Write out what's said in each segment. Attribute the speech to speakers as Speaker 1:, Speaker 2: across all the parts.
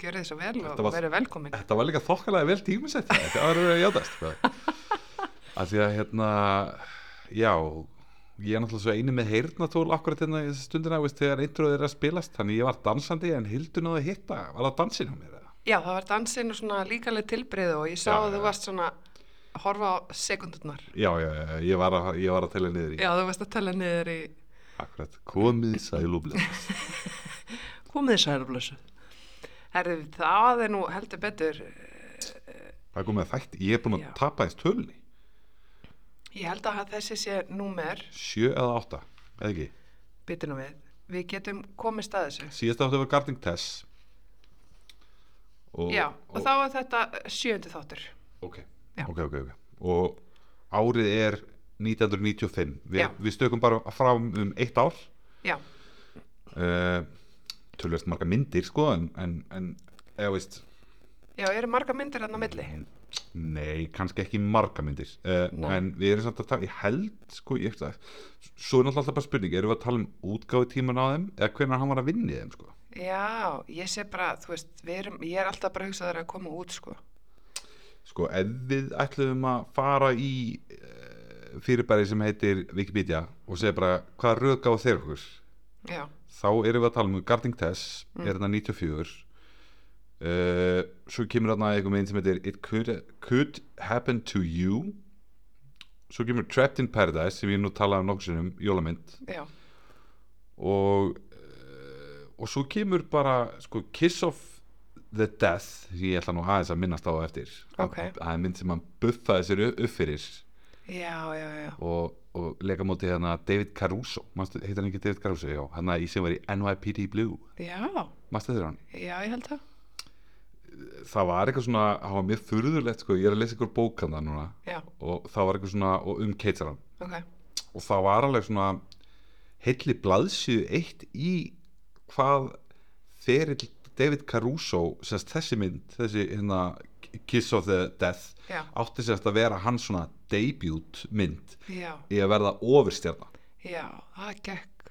Speaker 1: gjörið þess að vel
Speaker 2: Þetta
Speaker 1: og
Speaker 2: var-
Speaker 1: verið velkomin
Speaker 2: þetta var líka þokkalega vel tímisett þetta var verið að játast að því að hérna já, ég er náttúrulega svo einu með heyrnatól akkurat hérna í þessa stundina veist, þegar introð er að spilast, þannig ég var dansandi en Hildur náði að hitta, var það dansinn á mér eða?
Speaker 1: Já, það var dansinn og svona líkaleg tilbreyð og ég sá
Speaker 2: Já,
Speaker 1: að þú
Speaker 2: já.
Speaker 1: varst svona að horfa á sekundurnar
Speaker 2: já, já, já, ég var að, ég var að tella niður í
Speaker 1: Já, þú varst að tella niður í
Speaker 2: akkurat, komið sæl og bless
Speaker 1: komið þið særuflössu Herðu, það er nú heldur betur
Speaker 2: það komið að þætt, ég er búin að
Speaker 1: Já.
Speaker 2: tapa eins tölni
Speaker 1: Ég held að þessi sé númer
Speaker 2: sjö eða átta, eða ekki
Speaker 1: bitinu við, við getum komist að þessu
Speaker 2: síðast áttu var Garding Tess og,
Speaker 1: Já, og, þá er þetta sjöndi þáttur
Speaker 2: ok,
Speaker 1: Já.
Speaker 2: ok, ok, ok og árið er 1995 Vi,
Speaker 1: Já.
Speaker 2: við stökum bara fram um eitt ár
Speaker 1: Já,
Speaker 2: uh, tölvist marga myndir sko en, en, en eða veist
Speaker 1: já, eru marga myndir hann á milli
Speaker 2: Mm. nei, kannski ekki marga myndir uh,
Speaker 1: Nei.
Speaker 2: en við erum samt að tala, ég held sko, ég eftir það, svo er náttúrulega alltaf bara spurning erum við að tala um útgáfi tíman á þeim eða hvenær hann var að vinni þeim sko
Speaker 1: Já, ég sé bara, þú veist, við erum, ég er alltaf bara hugsað að koma út, sko
Speaker 2: sko, ef við ætlum að fara í uh, fyrirbæri sem heitir Wikipedia og segja bara hvað röðgáð þeir okkur
Speaker 1: Já,
Speaker 2: þá erum við að tala um Garding Tess er hérna 94 uh, svo kemur hérna einhver meginn sem heitir It could, could happen to you svo kemur Trapped in Paradise sem ég nú talaði um nokkuð sinnum jólamynd
Speaker 1: já,
Speaker 2: og uh, og svo kemur bara sko, Kiss of the Death sem ég ætla nú aðeins að minnast á á eftir
Speaker 1: Ok.
Speaker 2: það er mynd sem hann buffaði sér upp upp fyrir
Speaker 1: já, já, já
Speaker 2: og, og leika móti hérna David Caruso, Manstu, heitir hann ekki David Caruso já, hann í sem var í NYPD Blue
Speaker 1: Já,
Speaker 2: Mastu þér hann?
Speaker 1: já, ég held það
Speaker 2: Það var eitthvað svona, það var mjög furðulegt sko, ég er að lesa ykkur bókan það núna
Speaker 1: Já,
Speaker 2: og það var eitthvað svona, og um keitsaran
Speaker 1: ok,
Speaker 2: og það var alveg svona heilli blaðsíðu eitt í hvað ferill David Caruso, sérst þessi mynd, þessi hérna Kiss of the Death
Speaker 1: Já.
Speaker 2: átti sérst að vera hans svona debut mynd
Speaker 1: já,
Speaker 2: í að verða ofurstjarna
Speaker 1: já, það gekk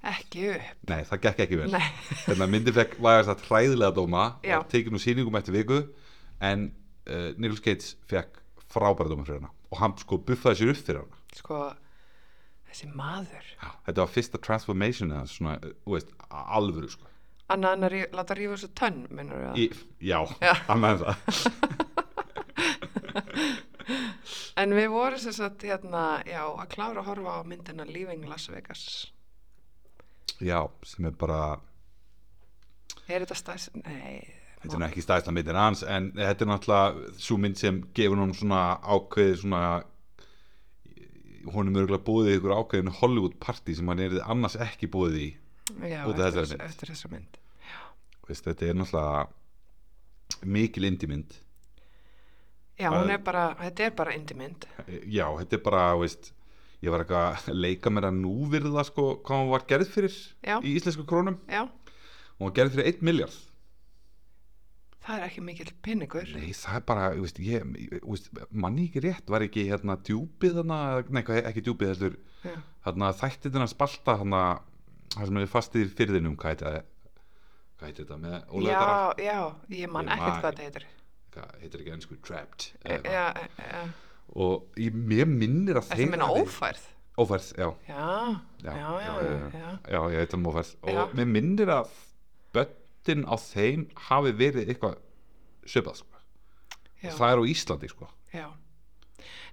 Speaker 1: ekki upp
Speaker 2: Nei, það gekk ekki vel
Speaker 1: Nei,
Speaker 2: Þannig að myndi fekk vægast að hræðilega dóma
Speaker 1: Já.
Speaker 2: og tekið nú sýningum eftir viku en uh, Nicholas Gates fekk frábæra dóma fyrir hana og hann sko buffaði sér upp fyrir hana
Speaker 1: sko, þessi maður
Speaker 2: Já. Þetta var fyrsta transformation eða svona, uh, þú veist, a- alvöru sko
Speaker 1: Anna, hann að rí- láta rífa þessu tönn, minnur við það
Speaker 2: Í, Já,
Speaker 1: Já.
Speaker 2: annað en það
Speaker 1: En við vorum sem sagt, hérna, já, að klára að horfa á myndina Leaving Las Vegas
Speaker 2: Já, sem er bara
Speaker 1: Er þetta stæðs, nei
Speaker 2: þetta er nú ekki stæðsla myndin hans en þetta er náttúrulega svo mynd sem gefur honum svona ákveðið svona honum örgulega búið í ykkur ákveðin Hollywood party sem hann er annars ekki búið í
Speaker 1: já,
Speaker 2: út af
Speaker 1: eftir
Speaker 2: þessari
Speaker 1: þess-
Speaker 2: mynd.
Speaker 1: Eftir þessari mynd
Speaker 2: veist, þetta er náttúrulega mikil indimynd
Speaker 1: Já, hún
Speaker 2: Það-
Speaker 1: er bara, þetta er bara indimynd
Speaker 2: já, þetta er bara, veist ég var eitthvað að leika mér að núvirða sko, hvað hún var gerð fyrir
Speaker 1: Já.
Speaker 2: í íslensku krónum
Speaker 1: Já,
Speaker 2: hún var gerð fyrir 1 miljard
Speaker 1: það er ekki mikill pinningur
Speaker 2: nei, það er bara, þú veist, ég, ég þú veist, manni ekki rétt, var ekki hérna djúpið hana, nei, hvað, ekki djúpið heldur,
Speaker 1: Já,
Speaker 2: hérna þættið hana spalta hana, það sem er fastið í fyrðinum, hvað heitir það hvað heitir þetta, með Ólaður Darra
Speaker 1: já, já, ég man
Speaker 2: Ég man
Speaker 1: ekkert hvað
Speaker 2: ekki.
Speaker 1: þetta heitir
Speaker 2: hvað heitir ekki ennsku, trapped eða
Speaker 1: E, Já,
Speaker 2: eitthvað.
Speaker 1: já, já
Speaker 2: og ég, mér minnir að
Speaker 1: Þetta minna
Speaker 2: hafi-
Speaker 1: ófærð
Speaker 2: ófærð, já
Speaker 1: Já, já,
Speaker 2: já,
Speaker 1: já,
Speaker 2: já,
Speaker 1: já
Speaker 2: já, ég veit um ófærs
Speaker 1: Já.
Speaker 2: og mér myndir að böttin á þeim hafi verið eitthvað söpað sko.
Speaker 1: Já.
Speaker 2: og það er á Íslandi sko.
Speaker 1: Já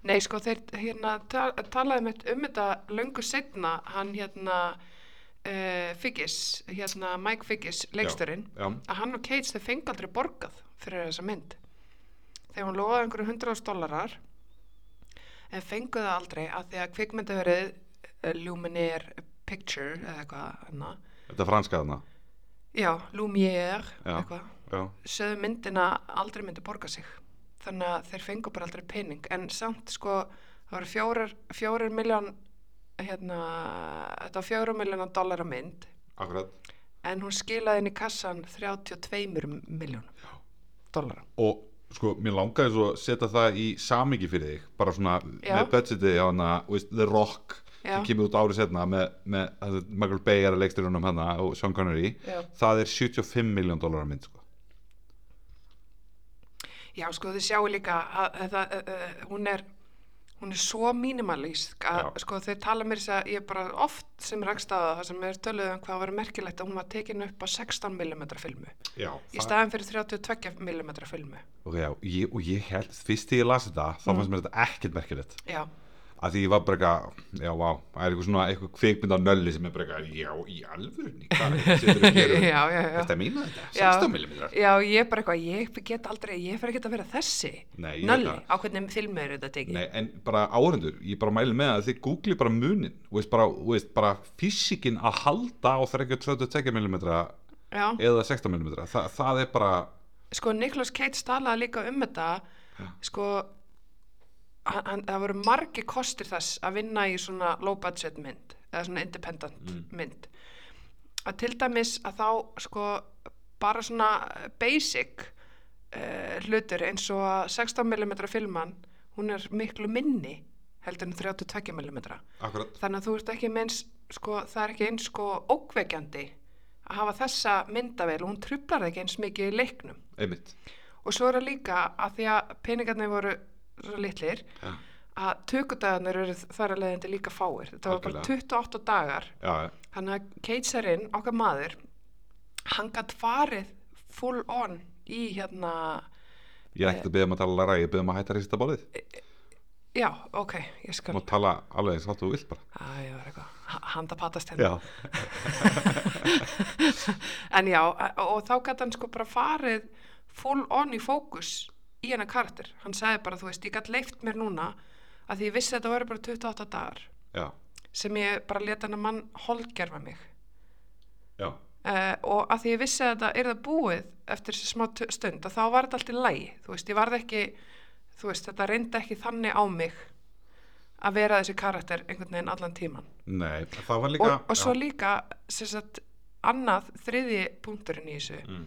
Speaker 1: Nei, sko, þeir hérna ta- talaði mitt um þetta löngu setna, hann hérna uh, Figgis, hérna Mike Figgis, leiksturinn
Speaker 2: já,
Speaker 1: að hann og Cates þau fengi aldrei borgað fyrir þessa mynd þegar hún lofaði einhverju 100.000 dólarar en fengu það aldrei að því að kvikmyndaverið eh, Lumineer Picture eða eitthvað hana.
Speaker 2: þetta er franska þarna
Speaker 1: já, Lumière
Speaker 2: Já.
Speaker 1: eitthvað
Speaker 2: já.
Speaker 1: sögðu myndina aldrei myndi borga sig þannig að þeir fengu bara aldrei pening en samt sko það var fjórar, fjórar miljón hérna, þetta var fjórar miljónan dólar að mynd
Speaker 2: akkurat
Speaker 1: en hún skilaði inn í kassan 32 miljónum dólara
Speaker 2: og sko, mér langaði svo að setja það í samingi fyrir þig bara svona
Speaker 1: Já.
Speaker 2: með budgetið á hana veist, The Rock
Speaker 1: Já.
Speaker 2: sem kemur út árið setna með, með það sem Michael Bay er að leiksturunum hana og Sean Connery
Speaker 1: Já.
Speaker 2: það er 75 miljón dólar mynd sko.
Speaker 1: Já, sko, þið sjáu líka að, að, að, að, að hún er hún er svo mínimalísk að
Speaker 2: Já.
Speaker 1: sko þau tala mér þess að ég bara oft sem rangstaða það sem er töluð um hvað var merkilegt að hún var tekin upp á 16mm filmu
Speaker 2: Já,
Speaker 1: í staðin fyrir 32mm filmu
Speaker 2: og, já, ég, og ég held, fyrst þegar ég las þetta þá fannst mér þetta ekkert merkilegt
Speaker 1: já,
Speaker 2: að því ég var bara eitthvað já, vá, það er eitthvað svona eitthvað kvikmynd á nölli sem er bara eitthvað, já, í alvörunni hvað er þetta sem þetta
Speaker 1: já,
Speaker 2: gerir
Speaker 1: já, já.
Speaker 2: þetta meina þetta,
Speaker 1: Já.
Speaker 2: 16 millimetrar
Speaker 1: já, ég bara eitthvað, ég get aldrei ég fer ekki að vera þessi
Speaker 2: Nei, ég veit
Speaker 1: nölli,
Speaker 2: það.
Speaker 1: á hvernig filmu er þetta tekið
Speaker 2: Nei, en bara áhörendur, ég bara mæli með að þið googli bara munin, þú veist bara, þú veist, bara físikin að halda á 32 mm
Speaker 1: já,
Speaker 2: eða 16 mm, Þa, það er bara
Speaker 1: sko Niklaus Keits talaði líka um þetta sko hann, hann, það voru margi kostir þess að vinna í svona low budget mynd eða svona independent mynd að til dæmis að þá sko bara svona basic uh, hlutur eins og að 16mm filman hún er miklu minni heldur en 32mm
Speaker 2: akkurat,
Speaker 1: þannig að þú ert ekki meins sko, það er ekki eins sko ókveikjandi að hafa þessa myndavél hún trublar ekki eins mikið í leiknum
Speaker 2: einmitt
Speaker 1: og svo er það líka að því að peningarnir voru svo litlir
Speaker 2: Já.
Speaker 1: að tökudagarnir eru þar að leiðandi líka fáir þetta var bara
Speaker 2: Algjörlega.
Speaker 1: 28 dagar
Speaker 2: Já,
Speaker 1: þannig að keitsarinn, okkar maður hann gætt farið full on í hérna
Speaker 2: ég er ekkert að beða um að tala læra, ég beða um að hætta að reysita bólið
Speaker 1: já, ok, ég skal
Speaker 2: og tala alveg eins hátt og þú vilt bara
Speaker 1: að ég var eitthvað, ha- handa patast hérna
Speaker 2: Já,
Speaker 1: en já, a- og þá gæti hann sko bara farið full on í fókus í hennar karakter, hann sagði bara þú veist, ég gæti leift mér núna að því ég vissi að þetta voru bara 28 dagar
Speaker 2: já,
Speaker 1: sem ég bara leta hennar mann holgerfa mig
Speaker 2: já
Speaker 1: uh, og að því ég vissi að þetta er það búið eftir þessi smá tu- stund að þá var þetta allt í lægi, þú veist, ég varð ekki þú veist, þetta reyndi ekki þannig á mig að vera þessi karakter einhvern veginn allan tíman
Speaker 2: Nei, það var líka
Speaker 1: og, og svo
Speaker 2: já,
Speaker 1: líka sem sagt, annað þriði punkturinn í þessu
Speaker 2: Mm.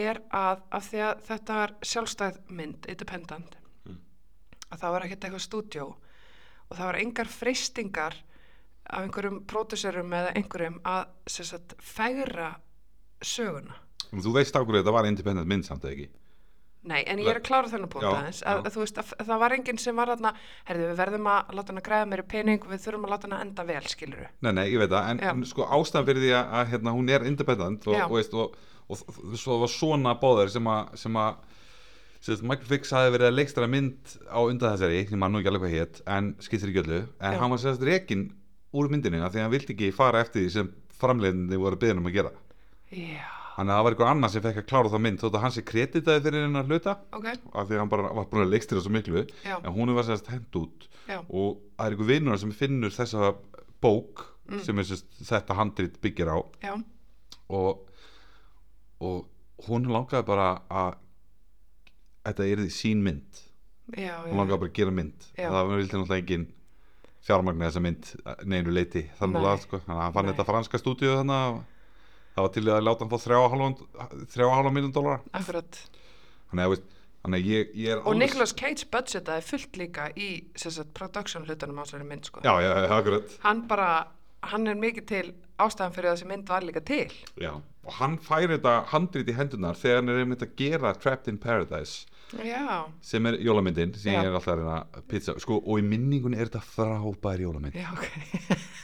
Speaker 1: er að, að því að þetta var sjálfstæð mynd, independent
Speaker 2: Mm.
Speaker 1: að það var ekkert eitthvað stúdjó og það var engar freystingar af einhverjum pródusserum eða einhverjum að sem sagt, fegra söguna
Speaker 2: Þú veist ákveður þetta var independent mynd samt eða ekki
Speaker 1: Nei, en ég er að klára þennan punkt
Speaker 2: Já,
Speaker 1: aðeins að,
Speaker 2: já.
Speaker 1: að, þú veist, að, að það var enginn sem var þarna herðu, við verðum að láta hann að græða meiri pening við þurfum að láta hann að enda vel, skilur
Speaker 2: Nei, nei, ég veit það, en,
Speaker 1: Já.
Speaker 2: en sko ástæðan fyrir því að, að hérna, hún er independent og,
Speaker 1: Já.
Speaker 2: og, veist, og, og, og svo var svona bóður sem að sem að sem að Michael Fix hafi verið að leikstara mynd á undan þessari, ég man nú ekki alveg hvað hétt en skiptir ekki öllu, en
Speaker 1: Já.
Speaker 2: hann var sérst rekin úr myndinina því að hann vildi ekki fara eftir því sem framleiðinni voru beðin um að gera
Speaker 1: Já,
Speaker 2: þannig að það var eitthvað annað sem fekk að klára þá mynd þótt að hann sé kreditaði fyrir hennar hluta
Speaker 1: ok,
Speaker 2: af því að hann bara var búin að leikstýra svo miklu
Speaker 1: Já.
Speaker 2: en hún var sérst hent út
Speaker 1: já,
Speaker 2: og það er einhver vinnur sem finnur þessa bók
Speaker 1: Mm.
Speaker 2: sem er sérst, þetta handrit byggir á
Speaker 1: já
Speaker 2: og, og hún langaði bara að þetta er því sín mynd
Speaker 1: já,
Speaker 2: hún
Speaker 1: já.
Speaker 2: langaði bara að gera mynd
Speaker 1: Mm. Já.
Speaker 2: það var vildi náttúrulega engin fjármagn í þessa mynd að neinu leiti þannig
Speaker 1: Nei.
Speaker 2: að sko. þannig að hann fann
Speaker 1: Nei.
Speaker 2: þetta franska stúdíu þannig að það var til í að láta hann fá þrjá og hálfan- þrjá og hálfa miljón dólar
Speaker 1: akkurat
Speaker 2: þannig að, þú veist, þannig að ég, ég er
Speaker 1: og
Speaker 2: alveg-
Speaker 1: Nicolas Cage budgetaði fullt líka í sem sagt, production hlutunum á þessari mynd sko.
Speaker 2: já, já, já, akkurat
Speaker 1: hann bara, hann er mikið til ástæðan fyrir að þessi mynd var líka til
Speaker 2: Já, og hann fær þetta handrit í hendunar þegar hann er einmitt að gera Trapped in Paradise
Speaker 1: já,
Speaker 2: sem er jólamyndin sem
Speaker 1: Já.
Speaker 2: ég er alltaf að reyna að pizza sko, og í minningunni er þetta frábær jólamynd
Speaker 1: já, ok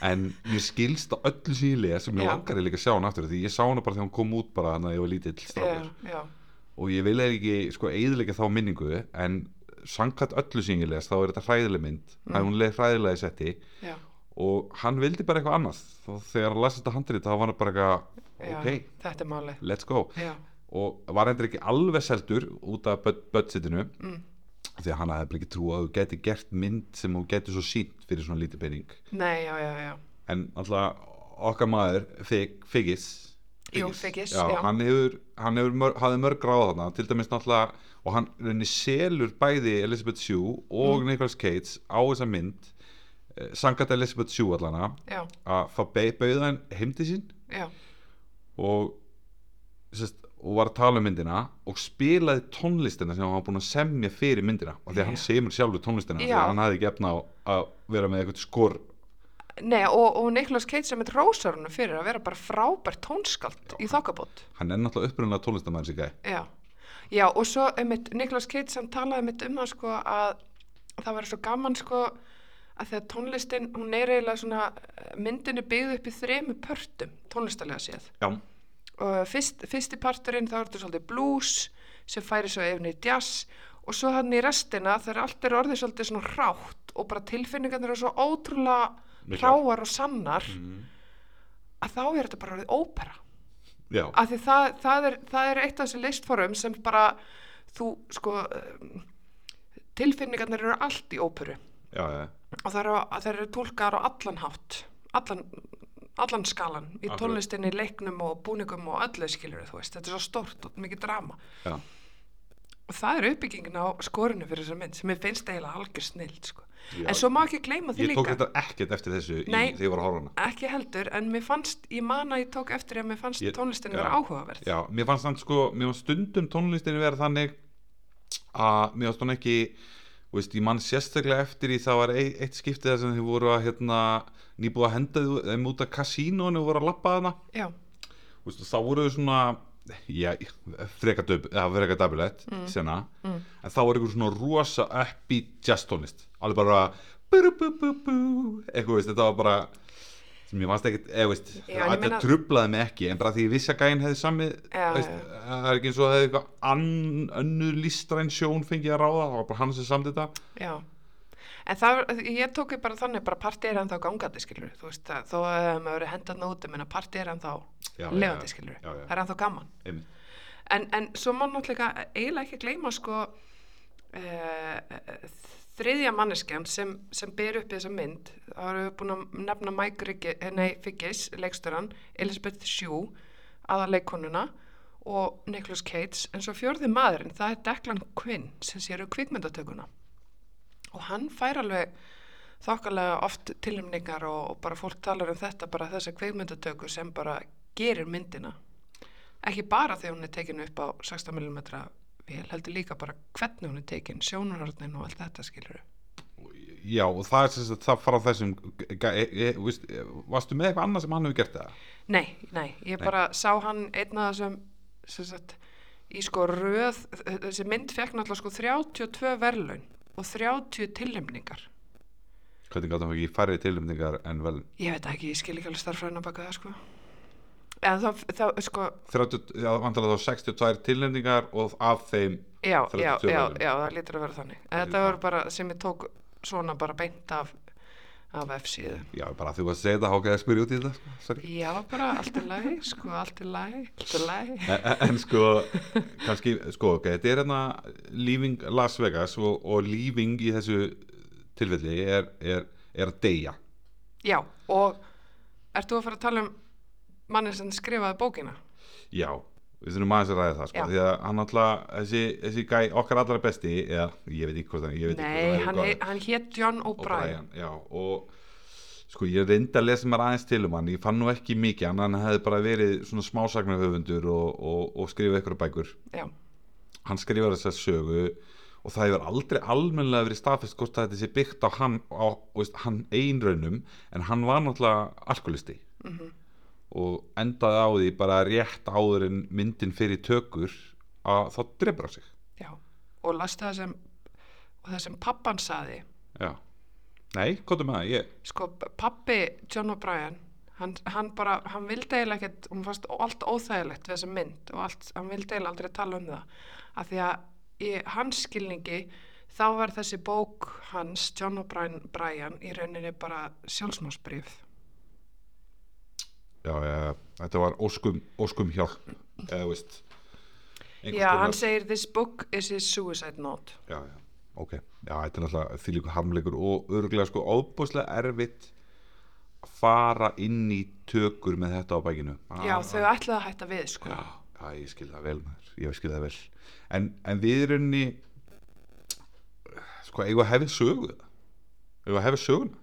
Speaker 2: en mér skilst á öllu sem ég les sem ég
Speaker 1: Já.
Speaker 2: langar ég líka að sjá hann aftur því ég sá hann bara þegar hann kom út bara þannig að ég var lítill
Speaker 1: já,
Speaker 2: strákur
Speaker 1: já,
Speaker 2: og ég vil eiginlega ekki sko eiðilega þá minningu en sankat öllu sem ég les þá er þetta hræðileg mynd mm. að hún leið hræðilega í setti
Speaker 1: já,
Speaker 2: og hann vildi bara eitthvað annað og þegar hann las þetta handrit þá var hann bara
Speaker 1: já.
Speaker 2: eitthvað ok,
Speaker 1: þetta er málið
Speaker 2: let's go
Speaker 1: já,
Speaker 2: og var hendur ekki alveg seldur út af bud- budgetinu
Speaker 1: Mm.
Speaker 2: því að hann hafði bara ekki trú að þú geti gert mynd sem þú geti svo sínt fyrir svona lítið pening
Speaker 1: nei, já, já, já
Speaker 2: en alltaf okkar maður Fig, Figgis
Speaker 1: Jú, Figgis,
Speaker 2: já,
Speaker 1: já.
Speaker 2: hann hefur, hann hefur mör, hafði mörg ráð þarna til dæmis náttúrulega og hann reyni selur bæði Elizabeth Shue og Nicolas Cage á þessa mynd eh, sangat Elizabeth Shue allana
Speaker 1: já,
Speaker 2: að það bauða hann heimdi sín
Speaker 1: já,
Speaker 2: og, sest, og var að tala um myndina og spilaði tónlistina sem hann var búin að semja fyrir myndina og því að hann
Speaker 1: Já.
Speaker 2: semur sjálfur tónlistina því
Speaker 1: Já.
Speaker 2: að hann hafði ekki efna á að vera með eitthvað skor
Speaker 1: nei, og, og Nicolas Cage sem er rósarunum fyrir að vera bara frábært tónskald í þokkabót
Speaker 2: hann er náttúrulega upprunnilega tónlistamæður sig gæ
Speaker 1: já, Já, og svo einmitt, Niklas Kitt sem talaði einmitt um það sko að það verður svo gaman sko að þegar tónlistin, hún er eiginlega svona eh, myndin er byggð upp í þremu pörtum tónlistalega séð
Speaker 2: Já,
Speaker 1: og fyrst, fyrsti parturinn þá er þetta svolítið blues sem færi svo efni í jazz og svo hann í restina þegar allt er orðið svolítið svona hrátt og bara tilfinningarnir eru svo ótrúlega
Speaker 2: Miklar.
Speaker 1: hráar og sannar að þá er þetta bara orðið ópera
Speaker 2: já,
Speaker 1: af því það, það, er, það er eitt af þessu listforum sem bara þú sko um, tilfinningarnir eru allt í óperu
Speaker 2: já, já,
Speaker 1: og það eru, það eru tólkar á allan hátt allan, allan skalan í
Speaker 2: Akkurat.
Speaker 1: tónlistinni, leiknum og búningum og öllu skilur þú veist, þetta er svo stort og mikið drama
Speaker 2: já.
Speaker 1: og það er uppbyggingin á skorinu fyrir þessa mynd sem ég finnst eiginlega algjör snild sko.
Speaker 2: Já.
Speaker 1: en svo má ekki gleyma því
Speaker 2: Ég tók
Speaker 1: líka
Speaker 2: þetta ekkert eftir þessu í,
Speaker 1: Nei.
Speaker 2: þegar ég var að horfa á hana
Speaker 1: ekki heldur, en mér fannst ég man að ég tók eftir því að mér fannst
Speaker 2: Ég-
Speaker 1: tónlistin
Speaker 2: já.
Speaker 1: vera áhugaverð
Speaker 2: Já, mér fannst hann sko, mér fannst stundum tónlistinni vera þannig að mér fannst hún ekki þú veist, ég mann sérstaklega eftir í það var ei- eitt skiptið þar sem þau voru að hérna, nýbúið að henda þau- þeim út að kasínónu og voru að lappa þarna
Speaker 1: Já.
Speaker 2: Þú veist, þá voru þau svona já, freka, döb, eða, freka dabilegt mm. en þá var einhver svona rosa uppi jazz tónlist alveg bara bú, bú, bú, bú, eitthvað veist, þetta var bara sem ég fannst ekkert, eða veist
Speaker 1: Já, en ég
Speaker 2: þetta
Speaker 1: meina-
Speaker 2: trublaði mig ekki, en bara því ég vissi að gæinn hefði samið,
Speaker 1: Já,
Speaker 2: veist, það er ekki eins og það hefði eitthvað ann, önnur listræn sjón fengið að ráða, það var bara hann sem samdi þetta
Speaker 1: Já, en það, ég tók ég bara þannig, bara partí er ennþá gangandi skilur, þú veist það, þó að um, maður verið hendan út, ég meina partí er ennþá
Speaker 2: Já, já,
Speaker 1: levandi
Speaker 2: já,
Speaker 1: skilur,
Speaker 2: já, já.
Speaker 1: það er ennþá gaman.
Speaker 2: Einmitt.
Speaker 1: En, en svo má náttúrulega eiginlega ekki gleyma sko uh, þriðja manneskjan sem, sem ber upp þessa mynd, þá erum við búin að nefna Mike Riggi, eh, nei, Figgis, leikstöran, Elizabeth Shue, aðarleikonuna og Nicholas Cates, en svo fjörði maðurinn, það er Declan Quinn sem sér um kvikmyndatökuna og hann fær alveg þokkalega oft tilnæmningar og, og bara fólk talar um þetta bara þessa kveikmyndatöku sem bara gerir myndina ekki bara þegar hún er tekin upp á 16mm vél, heldur líka bara hvernig hún er tekin, sjónarhörnin og allt þetta skilur
Speaker 2: já, og það er sem sagt það frá þessum gæ- e, e, veist, varstu með eitthvað annað sem hann hefur gert það?
Speaker 1: nei, nei, ég bara sá hann einn af þessum sem sagt, í sko röð þessi mynd fekk náttúrulega sko 32 verðlaun og 30 tilnæmningar
Speaker 2: hvernig gátt hann ekki færri tilumningar en vel
Speaker 1: ég veit ekki, ég skil ekki alveg starffræðina baka það sko en það, það sko
Speaker 2: 30, já, vandalega þá 62 tilnefningar og af þeim
Speaker 1: já, já,
Speaker 2: 32
Speaker 1: já,
Speaker 2: verðlaun.
Speaker 1: já, það lítur að vera þannig þetta var bara sem ég tók svona bara beint af, af F-síðu
Speaker 2: já, bara því að segja þetta hákaði að spyrja út í þetta sko, sorry.
Speaker 1: já, bara allt er læg, sko, allt er læg allt er læg
Speaker 2: en, en- en sko kannski, sko, ok, þetta er hérna Leaving Las Vegas og, og Leaving í þessu tilfelli er, er, er að deyja
Speaker 1: já, og ert þú að fara að tala um mannin sem skrifaði bókina
Speaker 2: já, við þurfum aðeins að ræða það sko,
Speaker 1: Já.
Speaker 2: því að hann alltaf, þessi, þessi gæ okkar allra besti, eða ég veit ekki hvort hann ég veit ekki
Speaker 1: nei,
Speaker 2: hvort
Speaker 1: hann,
Speaker 2: góður.
Speaker 1: he- hann hétt John O'Brien
Speaker 2: já, og sko ég reyndi að lesa mér aðeins til um hann ég fann nú ekki mikið, hann hann hefði bara verið svona smásagnarhöfundur og, og, og skrifa ykkur bækur,
Speaker 1: já,
Speaker 2: hann skrifar þessar sögu og það hefur aldrei almennilega verið staðfest hvort að þetta sé byggt á hann, á, þú veist, hann einraunum en hann var náttúrulega alkoholisti og endaði á því bara rétt áður en myndin fyrir tökur að þá drefur á sig
Speaker 1: já og lastu það sem og það sem pappan saði
Speaker 2: já, nei, hvað er með það ég,
Speaker 1: sko pappi John O'Brien hann, hann bara, hann vildi eiginlega ekkert hún fannst allt óþægilegt við þessa mynd og allt, hann vildi eiginlega aldrei tala um það af því að í hans skilningi þá var þessi bók hans, John O'Brien Brian, í rauninni bara sjálfsmásbrif
Speaker 2: já, já, þetta var óskum, óskum hjálp eða þú veist einhvers
Speaker 1: já,
Speaker 2: konar-
Speaker 1: hann segir this book is his suicide note
Speaker 2: já, já, ok, já, þetta er náttúrulega því líka harmleikur og örgulega sko óbúslega erfitt að fara inn í tökur með þetta á bækinu
Speaker 1: já,
Speaker 2: Ah,
Speaker 1: þau ætlaði að hætta við sko
Speaker 2: já, já, ég skil það vel maður, ég skil það vel en, en við erum í sko, eigum við að hefði sögu það? eigum við að hefði söguna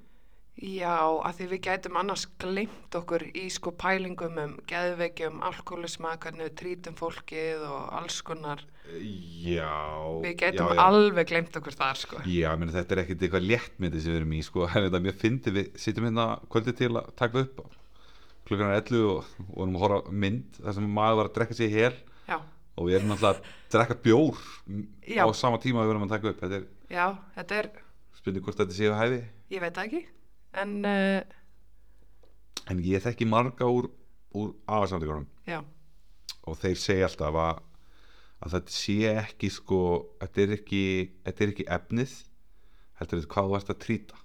Speaker 1: Já, að því við gætum annars glimt okkur í sko pælingum um geðveikjum, alkoholisma, hvernig við trítum fólkið og alls konar.
Speaker 2: já,
Speaker 1: Við gætum
Speaker 2: já, já.
Speaker 1: alveg glemt okkur þar sko.
Speaker 2: Já, meni, þetta er ekkert eitthvað léttmyndi sem við erum í sko, en þetta er mjög fyndi við sitjum hérna kvöldið til að taka upp klukkan er 11 og og erum að horfa á mynd þar sem maður var að drekka sér hér
Speaker 1: Já,
Speaker 2: og við erum náttúrulega að drekka bjór
Speaker 1: Já.
Speaker 2: á sama tíma og við erum að taka upp þetta er
Speaker 1: já, þetta er,
Speaker 2: spurning hvort þetta séu hæfi
Speaker 1: ég veit það ekki en, uh,
Speaker 2: en ég þekki marga úr, úr aðarsamleikunum
Speaker 1: já,
Speaker 2: og þeir segja alltaf að, að þetta sé ekki sko, þetta er ekki, þetta er ekki efnið heldur þetta hvað þú ert að trýta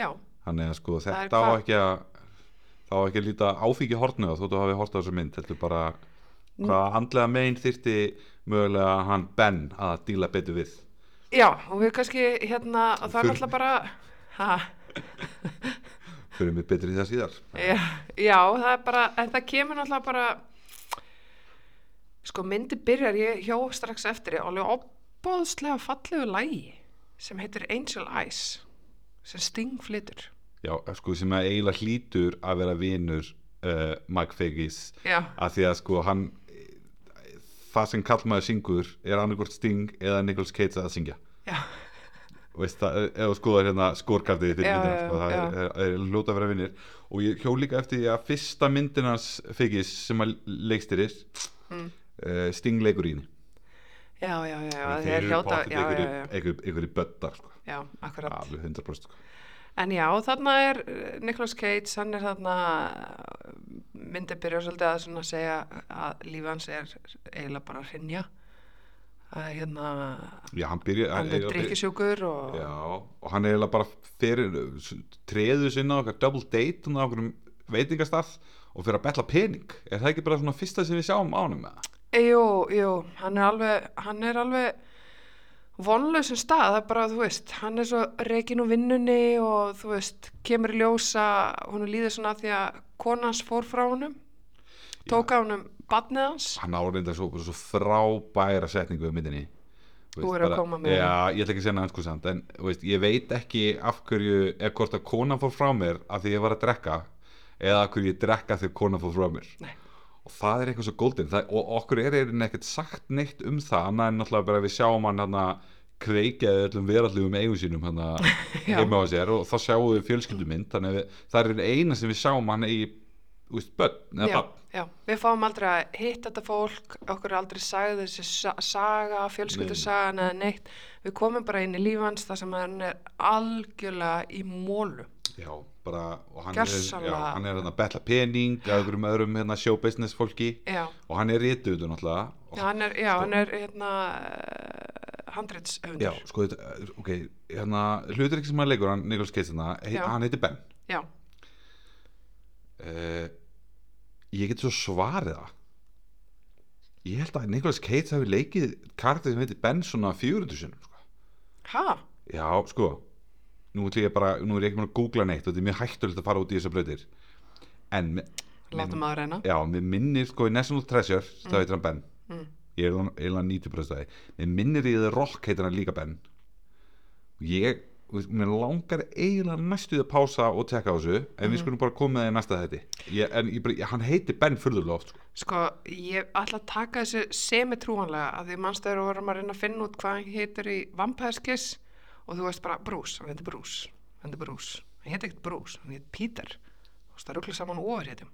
Speaker 1: já
Speaker 2: þannig að sko
Speaker 1: er
Speaker 2: þetta á
Speaker 1: hvað-
Speaker 2: ekki að þá ekki að líta áfíki hortnu þó þú hafi hort á þessu mynd heldur bara
Speaker 1: Mm.
Speaker 2: hvað andlega megin þyrti mögulega hann Ben að díla betur við
Speaker 1: já, og við kannski hérna og það er
Speaker 2: Þurr-
Speaker 1: náttúrulega bara ha,
Speaker 2: fyrir mig betur í það síðar
Speaker 1: já, já, það er bara en það kemur náttúrulega bara sko myndi byrjar ég hjó strax eftir ég alveg opbóðslega fallegu lægi sem heitir Angel Eyes sem Sting flytur
Speaker 2: Já, sko, sem að eiginlega hlýtur að vera vinur uh, Mike Figgis
Speaker 1: já,
Speaker 2: af því að sko hann það sem kallmaður syngur er annarkvort Sting eða Nicholas Cage að syngja
Speaker 1: já,
Speaker 2: Og veist það, ef þú skoðar hérna skórkartið fyrir
Speaker 1: Já,
Speaker 2: myndina,
Speaker 1: já,
Speaker 2: sko, það
Speaker 1: já.
Speaker 2: er, er, er ljóta að vera vinnir og ég hjó líka eftir því að fyrsta myndinans Figgis sem að leikstyrir mm.
Speaker 1: Mm.
Speaker 2: Sting leikur í henni
Speaker 1: já, já, já, já
Speaker 2: þeir
Speaker 1: þeir
Speaker 2: eru
Speaker 1: hljóta
Speaker 2: pottþétt
Speaker 1: já, já,
Speaker 2: einhverjir-
Speaker 1: já, já,
Speaker 2: einhverjir einhverjir böddar sko,
Speaker 1: já, akkurat
Speaker 2: alveg 100% sko.
Speaker 1: En já, þarna er eh, Nicolas Cage, hann er þarna myndið byrja svolítið að svona segja að lífi hans er eiginlega bara að hrynja að hérna
Speaker 2: Já, hann byrja
Speaker 1: hann er drikkisjúkur og já,
Speaker 2: Já, og hann er eiginlega bara fyrir, treður sinna á okkar double date hann á okkur veitingastað og fyrir að betla pening er það ekki bara svona fyrsta sem við sjáum á hann með það?
Speaker 1: Eh, jú, jú, hann er alveg hann er alveg vonlausum stað, það er bara, þú veist hann er svo reikin úr vinnunni og þú veist, kemur í ljósa hún líður svona af því að konans fór frá honum tók á honum badnið hans
Speaker 2: hann áreindar svo, bara svo frábæra setningu við myndinni Þú
Speaker 1: Þú
Speaker 2: veist,
Speaker 1: er að
Speaker 2: bara-
Speaker 1: koma með
Speaker 2: Já, ég ætla ekki að segja hann sko samt en þú veist, ég veit ekki af hverju eða hvort að konan fór frá mér af því ég var að drekka eða af hverju ég drekka þegar konan fór frá mér
Speaker 1: Nei.
Speaker 2: og það er eitthvað svo golden það, og okkur er einhvern ekkert sagt neitt um það annað en náttúrulega bara að við sjáum hann hann kveikjaði öllum verallugum eigum sínum hann
Speaker 1: Já.
Speaker 2: heima á sér og þá sjáum við fjölskyldumynd þannig að við, það er eina sem við sjáum hann í þú veist, börn eða
Speaker 1: já,
Speaker 2: barn.
Speaker 1: já, við fáum aldrei að hitta þetta fólk okkur er aldrei sagði þessi sa- saga fjölskyldusagan eða neitt við komum bara inn í líf hans þar sem hann er algjörlega í mólu
Speaker 2: Já, bara, og hann er,
Speaker 1: Gjörsamlega.
Speaker 2: já, hann er hann að betla pening að einhverjum öðrum hérna showbusiness fólki
Speaker 1: já,
Speaker 2: og hann er rítuður náttúrulega
Speaker 1: já,
Speaker 2: og,
Speaker 1: hann er, já, hann er hérna eh, handreitshöfundur
Speaker 2: já, sko, þetta, eh, ok, hérna hlutur ekki sem hann leikur, hann Nikolas Cage hérna he,
Speaker 1: Já.
Speaker 2: hann heitir Ben
Speaker 1: já,
Speaker 2: uh, ég get svo svarið það ég held að Nikolas Cage hafi leikið karakter sem heitir Ben svona 400 sinum sko.
Speaker 1: ha,
Speaker 2: já, sko nú ætlum ég bara, nú er ég ekki mér að googla neitt og þetta er mjög hættulegt að fara út í þessar blöðir en með
Speaker 1: látum hérna. að reyna
Speaker 2: Já, mér minnir sko í National Treasure það heitir hann Ben
Speaker 1: Mm.
Speaker 2: ég er eiginlega 90% af því mér minnir í The Rock heitir hann líka Ben og ég, þú veist, mér langar eiginlega næstuð að pása og tekka á þessu en
Speaker 1: Mm.
Speaker 2: við skulum bara koma með það í næsta þetta ég, en ég, bara- ég, hann heitir Ben furðulega oft sko.
Speaker 1: sko, ég ætla að taka þessu semitrúanlega að því mannstæður og vorum að reyna að finna út hvað hann heitir í vampæðskis og þú veist bara Bruce, hann heitir Bruce hann heitir Bruce, hann heitir ekkert Bruce hann heitir Peter, þú veist það ruggla saman ofurheitum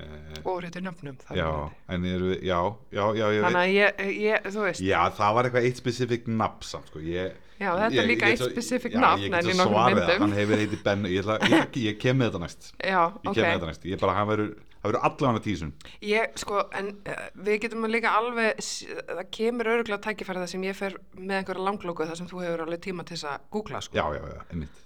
Speaker 2: uh,
Speaker 1: ofurheitum nöfnum það er
Speaker 2: já,
Speaker 1: málið.
Speaker 2: en eru við, já, já, já, ég
Speaker 1: þannig
Speaker 2: veit
Speaker 1: að ég, ég, þú veist
Speaker 2: Já, það var eitthvað eitt spesifik nafn samt sko. ég,
Speaker 1: Já, þetta er
Speaker 2: ég- ég
Speaker 1: líka
Speaker 2: get
Speaker 1: eitt
Speaker 2: svo-
Speaker 1: specific
Speaker 2: já,
Speaker 1: nafn,
Speaker 2: ég
Speaker 1: en
Speaker 2: get
Speaker 1: í
Speaker 2: svo
Speaker 1: nokkrum
Speaker 2: svarið að
Speaker 1: myndum.
Speaker 2: Hann hefur heitið Ben, ég, ætla, ég, ég kem með þetta næst
Speaker 1: já
Speaker 2: Ég
Speaker 1: ok
Speaker 2: kem með þetta næst, ég bara, hann verður, það verður allavega tísun
Speaker 1: Ég, sko, en uh, við getum líka alveg, s- það kemur öruglega tækifæri það sem ég fer með einhverja langlóku þar sem þú hefur alveg tíma til þess að googla, sko.
Speaker 2: Já, já, já, einmitt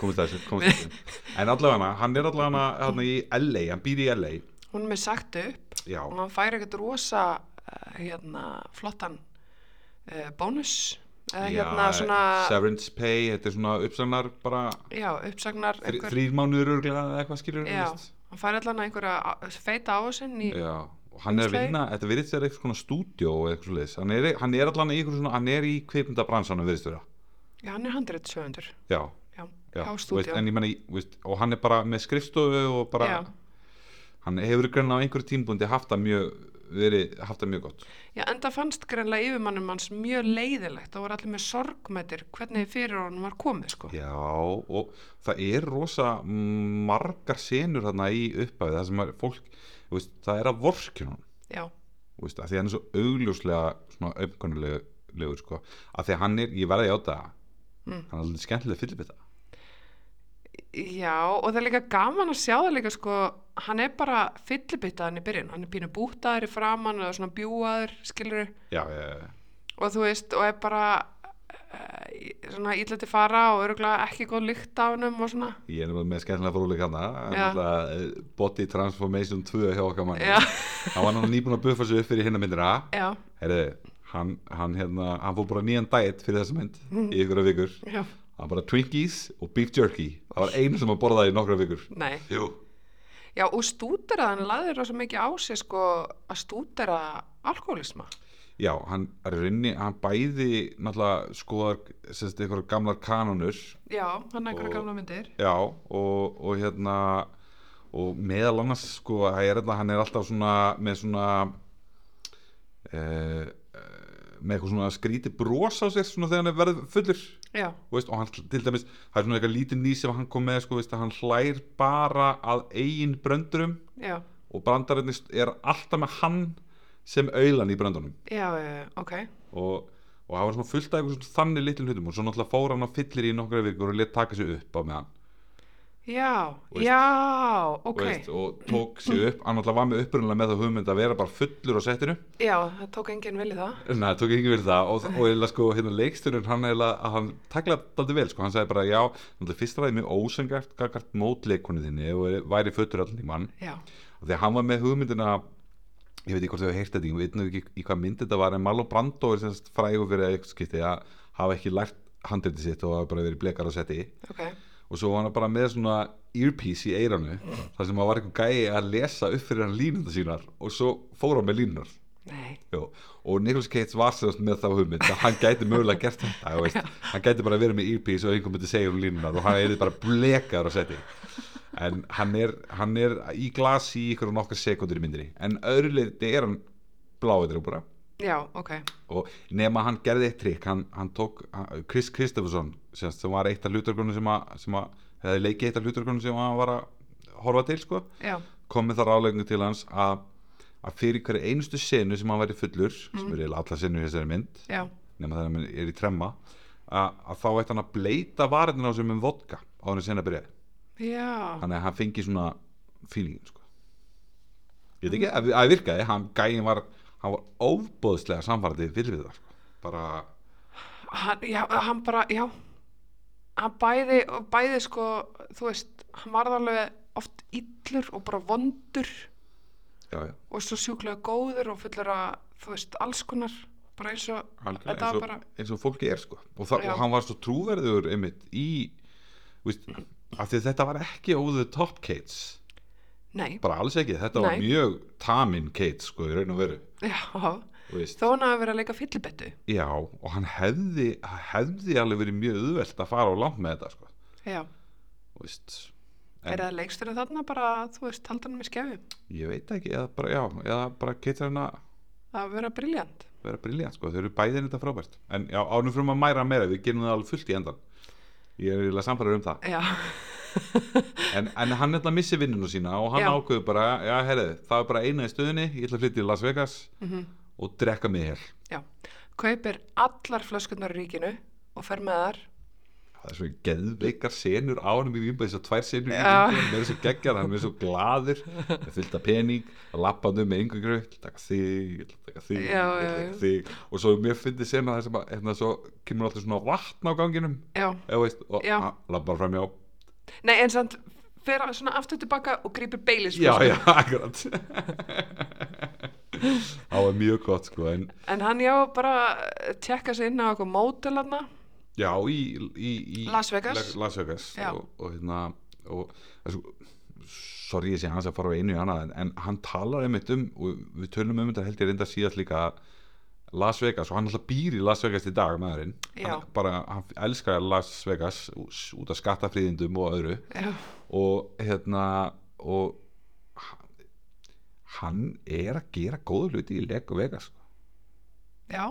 Speaker 2: Komist að þessu, komist að þessu En allavega, hann er allavega hann í LA, hann býr í LA
Speaker 1: Hún er með sagt upp
Speaker 2: Já,
Speaker 1: og hann fær ekkert rosa, uh, hérna, flottan uh, bónus, eða hérna
Speaker 2: já, eh,
Speaker 1: svona,
Speaker 2: Severance pay, þetta er svona uppsagnar bara
Speaker 1: já, uppsagnar,
Speaker 2: þr Þrýr mánuður örglega eða eitthvað skilur
Speaker 1: já, hann fær allan einhverja á- feita ásinn í,
Speaker 2: já Og hann er að
Speaker 1: Umslagi.
Speaker 2: vinna, þetta virðist þér eitthvað svona stúdíó eða eitthvað svoleiðis, hann er, hann er allan í eitthvað svona, hann er í kveipmyndabransanum virðist þér
Speaker 1: já, hann er handreitsöfundur,
Speaker 2: Já,
Speaker 1: já,
Speaker 2: já,
Speaker 1: hjá
Speaker 2: þú veist,
Speaker 1: stúdíó.
Speaker 2: en ég meni, veist, og hann er bara með skrifstofu og bara,
Speaker 1: Já.
Speaker 2: hann hefur greinlega á einhverju tímbundi haft það mjög, verið, haft það mjög gott
Speaker 1: Já, enda fannst greinlega yfirmannum hans mjög leiðilegt, það voru allir með sorgmættir hvernig fyrir honum var komið, sko.
Speaker 2: Já, og það er rosa margar senur þarna í uppæði það sem er fólk, þú veist, það er að vorkjunum
Speaker 1: já,
Speaker 2: þú veist, að því hann er svo augljóslega svona auðvitaðlegur sko, að því að hann er, ég verði á það
Speaker 1: Mm.
Speaker 2: hann er alveg skemmtilega fyrirbita
Speaker 1: já og það er líka gaman að sjá það líka sko, hann er bara fyllibitaðan í byrjun, hann er pínu bútaður í framann og svona bjúaður, skilur
Speaker 2: já, já, já,
Speaker 1: og þú veist, og er bara uh, svona illa til fara og örgulega ekki góð lykt af honum og svona
Speaker 2: ég er nefnilega með skemmtilega fróðleik hann
Speaker 1: Já.
Speaker 2: alltaf eh, body transformation 2 hjá okkar manni
Speaker 1: já,
Speaker 2: hann var hann nýbúin að buffa sig upp fyrir hinna myndir að
Speaker 1: já,
Speaker 2: herri, hann, hann hérna hann fór bara nýjan diet fyrir þessa mynd í ykkur af vikur,
Speaker 1: já,
Speaker 2: hann bara Twinkies og beef jerky, það var einu sem að borða í nokkra vikur
Speaker 1: nei
Speaker 2: jú,
Speaker 1: já, og stúdera, hann laður rosa mikið á sig sko, að stúdera alkoholisma
Speaker 2: Já, hann er í rauninni, hann bæði náttúrulega skoðar semst einhverjar gamlar kanonur
Speaker 1: já, hann er
Speaker 2: Og-
Speaker 1: einhverja gamla myndir
Speaker 2: já, og, og hérna og meðal annars sko, það er þetta, hann er alltaf svona með svona eh, eh, með eitthvað svona skríti bros á sér svona þegar hann er verið fullur þú
Speaker 1: já,
Speaker 2: veist, og hann til dæmis, það er svona eitthvað lítið ný sem hann kom með, sko, veist, að hann hlær bara að eigin bröndurum
Speaker 1: já,
Speaker 2: og brandarinn er alltaf með hann sem auðlan í bröndunum
Speaker 1: já, já, ok
Speaker 2: og, og það var svona fullt af einhverjum svona þannig litlum hlutum og svo náttúrulega fór hann á fyllir í nokkra vikur og let taka sig upp á meðan
Speaker 1: já,
Speaker 2: veist-
Speaker 1: já,
Speaker 2: og,
Speaker 1: ok
Speaker 2: og tók sig upp, hann náttúrulega var með upprunalega með það hugmynd að vera bara fullur á settinu
Speaker 1: já, það tók enginn vel í það
Speaker 2: en það tók ekki verið það og, og eiginlega sko hérna leiksturinn hann eiginlega að hann taklaði daldið vel sko, hann sagði bara já, náttúrulega fyrst ræði mjög ósengart gagart mótleikonu þinni og væri fullur allan í mann
Speaker 1: já,
Speaker 2: og þegar hann var með hugmyndina ég veit ekki hvort þau heyrt þetta, ég veit nú ekki í hvað mynd þetta var en Marlon Brando er semst frægur fyrir að eitthvað skipti að hafa ekki lært handriti sitt og hafa bara verið blekar á seti
Speaker 1: ok
Speaker 2: og svo var hann bara með svona earpiece í eiranu þar sem hann var eitthvað gæi að lesa upp fyrir hann línunda sínar og svo fór hann með línunar
Speaker 1: nei,
Speaker 2: Jó. og Nicholas Cage var semst með þá hugmynd að hann gæti mögulega gert þetta þú veist. hann gæti bara verið með earpiece og einhver myndi segja um línunar og hann er bara blekar á seti en hann er, hann er í glasi í ykkur og nokkar sekundur í myndinni en öðru leiti er hann bláður og bara
Speaker 1: já, ok
Speaker 2: og nema hann gerði eitt trikk hann, hann tók hann, Chris Kristofferson sem, sem var eitt af hluturgrunum sem, að- sem að hefði leikið eitt af hluturgrunum sem hann var að horfa til sko,
Speaker 1: já,
Speaker 2: kom með það rálegningu til hans að, að fyrir hverju einustu senu sem hann væri fullur sem er eiginlega allar senu í þessari mynd
Speaker 1: já,
Speaker 2: nema þegar hann er í tremma að, að þá ætti hann að bleita varðin á sem um vodka á hann sena byrjaði
Speaker 1: já
Speaker 2: þannig að hann fengi svona feelingin sko. ég veit ekki að það virkaði hann gæin var, hann var óbóðslega samfærandi vill við það sko. bara,
Speaker 1: hann, já, hann bara, já hann bæði, bæði sko þú veist, hann varð alveg oft illur og bara vondur
Speaker 2: já, já,
Speaker 1: og svo sjúklega góður og fullur að þú veist, alls konar bara eins og,
Speaker 2: algjörlega,
Speaker 1: þetta
Speaker 2: eins,
Speaker 1: var
Speaker 2: og,
Speaker 1: bara
Speaker 2: eins og fólki er sko. og, það,
Speaker 1: Já.
Speaker 2: og hann var svo trúverður einmitt í viðst, af því að þetta var ekki over the top Cates
Speaker 1: nei,
Speaker 2: bara alls ekki, þetta var
Speaker 1: Nei.
Speaker 2: mjög tamin Cates sko, í raun og veru
Speaker 1: já,
Speaker 2: þú veist.
Speaker 1: þó hann hafi verið að leika fyllibettu
Speaker 2: já, og hann hefði, hefði alveg verið mjög auðvelt að fara á langt með þetta sko.
Speaker 1: já,
Speaker 2: Þú veist. En-
Speaker 1: er það leiksturinn þarna bara, þú veist, haldan með skefi
Speaker 2: ég veit ekki, eða bara, já, eða bara Cates er hann að
Speaker 1: að vera briljant
Speaker 2: vera briljant sko, þau eru bæðin þetta frábært en já, ánum fyrir maður mæra meira, við gerum það alveg fullt í endan ég er eiginlega samfæður um það
Speaker 1: já,
Speaker 2: en, en hann ætla að missi vinninu sína og hann
Speaker 1: Já.
Speaker 2: ákveður bara, já, herrið, það er bara eina í stöðinni ég ætla að flytja í Las Vegas og drekka mig hér
Speaker 1: já Mhm. kaupir allar flöskunnar í ríkinu og fer með þar
Speaker 2: það er svo geðveikar senur á hann í výmba þessar tvær senur í
Speaker 1: Já.
Speaker 2: výmba hann er svo geggjað, hann er svo gladur með fyllt af pening, að lappa hann um með yngur gröð, taka þig, ég ætla að taka þig
Speaker 1: Já,
Speaker 2: ég ætla að
Speaker 1: já,
Speaker 2: taka þig og svo mér fyndi sena það sem að hérna, svo kemur alltaf svona vatn á ganginum
Speaker 1: já,
Speaker 2: eða veist, og
Speaker 1: Já.
Speaker 2: hann lappa bara fram hjá
Speaker 1: nei, en samt fer að- svona aftur tilbaka og grýpir beilis
Speaker 2: já, já, akkurat það var mjög gott sko en
Speaker 1: En hann já bara að tjekka sig inn á eitthvað mótel hann
Speaker 2: já, í, í, í
Speaker 1: Las Vegas.
Speaker 2: Le- Las Vegas
Speaker 1: Já.
Speaker 2: og, og hérna og, þessu, sorry ég sé hans að fara á einu í annað en, en hann talar einmitt um og við tölum um þetta held ég reynda síðast líka að Las Vegas og hann alltaf býr í Las Vegas í dag maðurinn
Speaker 1: Já.
Speaker 2: hann, bara, hann elskar Las Vegas út af skattafríðindum og öðru
Speaker 1: Já,
Speaker 2: og hérna og h- hann er að gera góða hluti í Lego Vegas sko.
Speaker 1: já,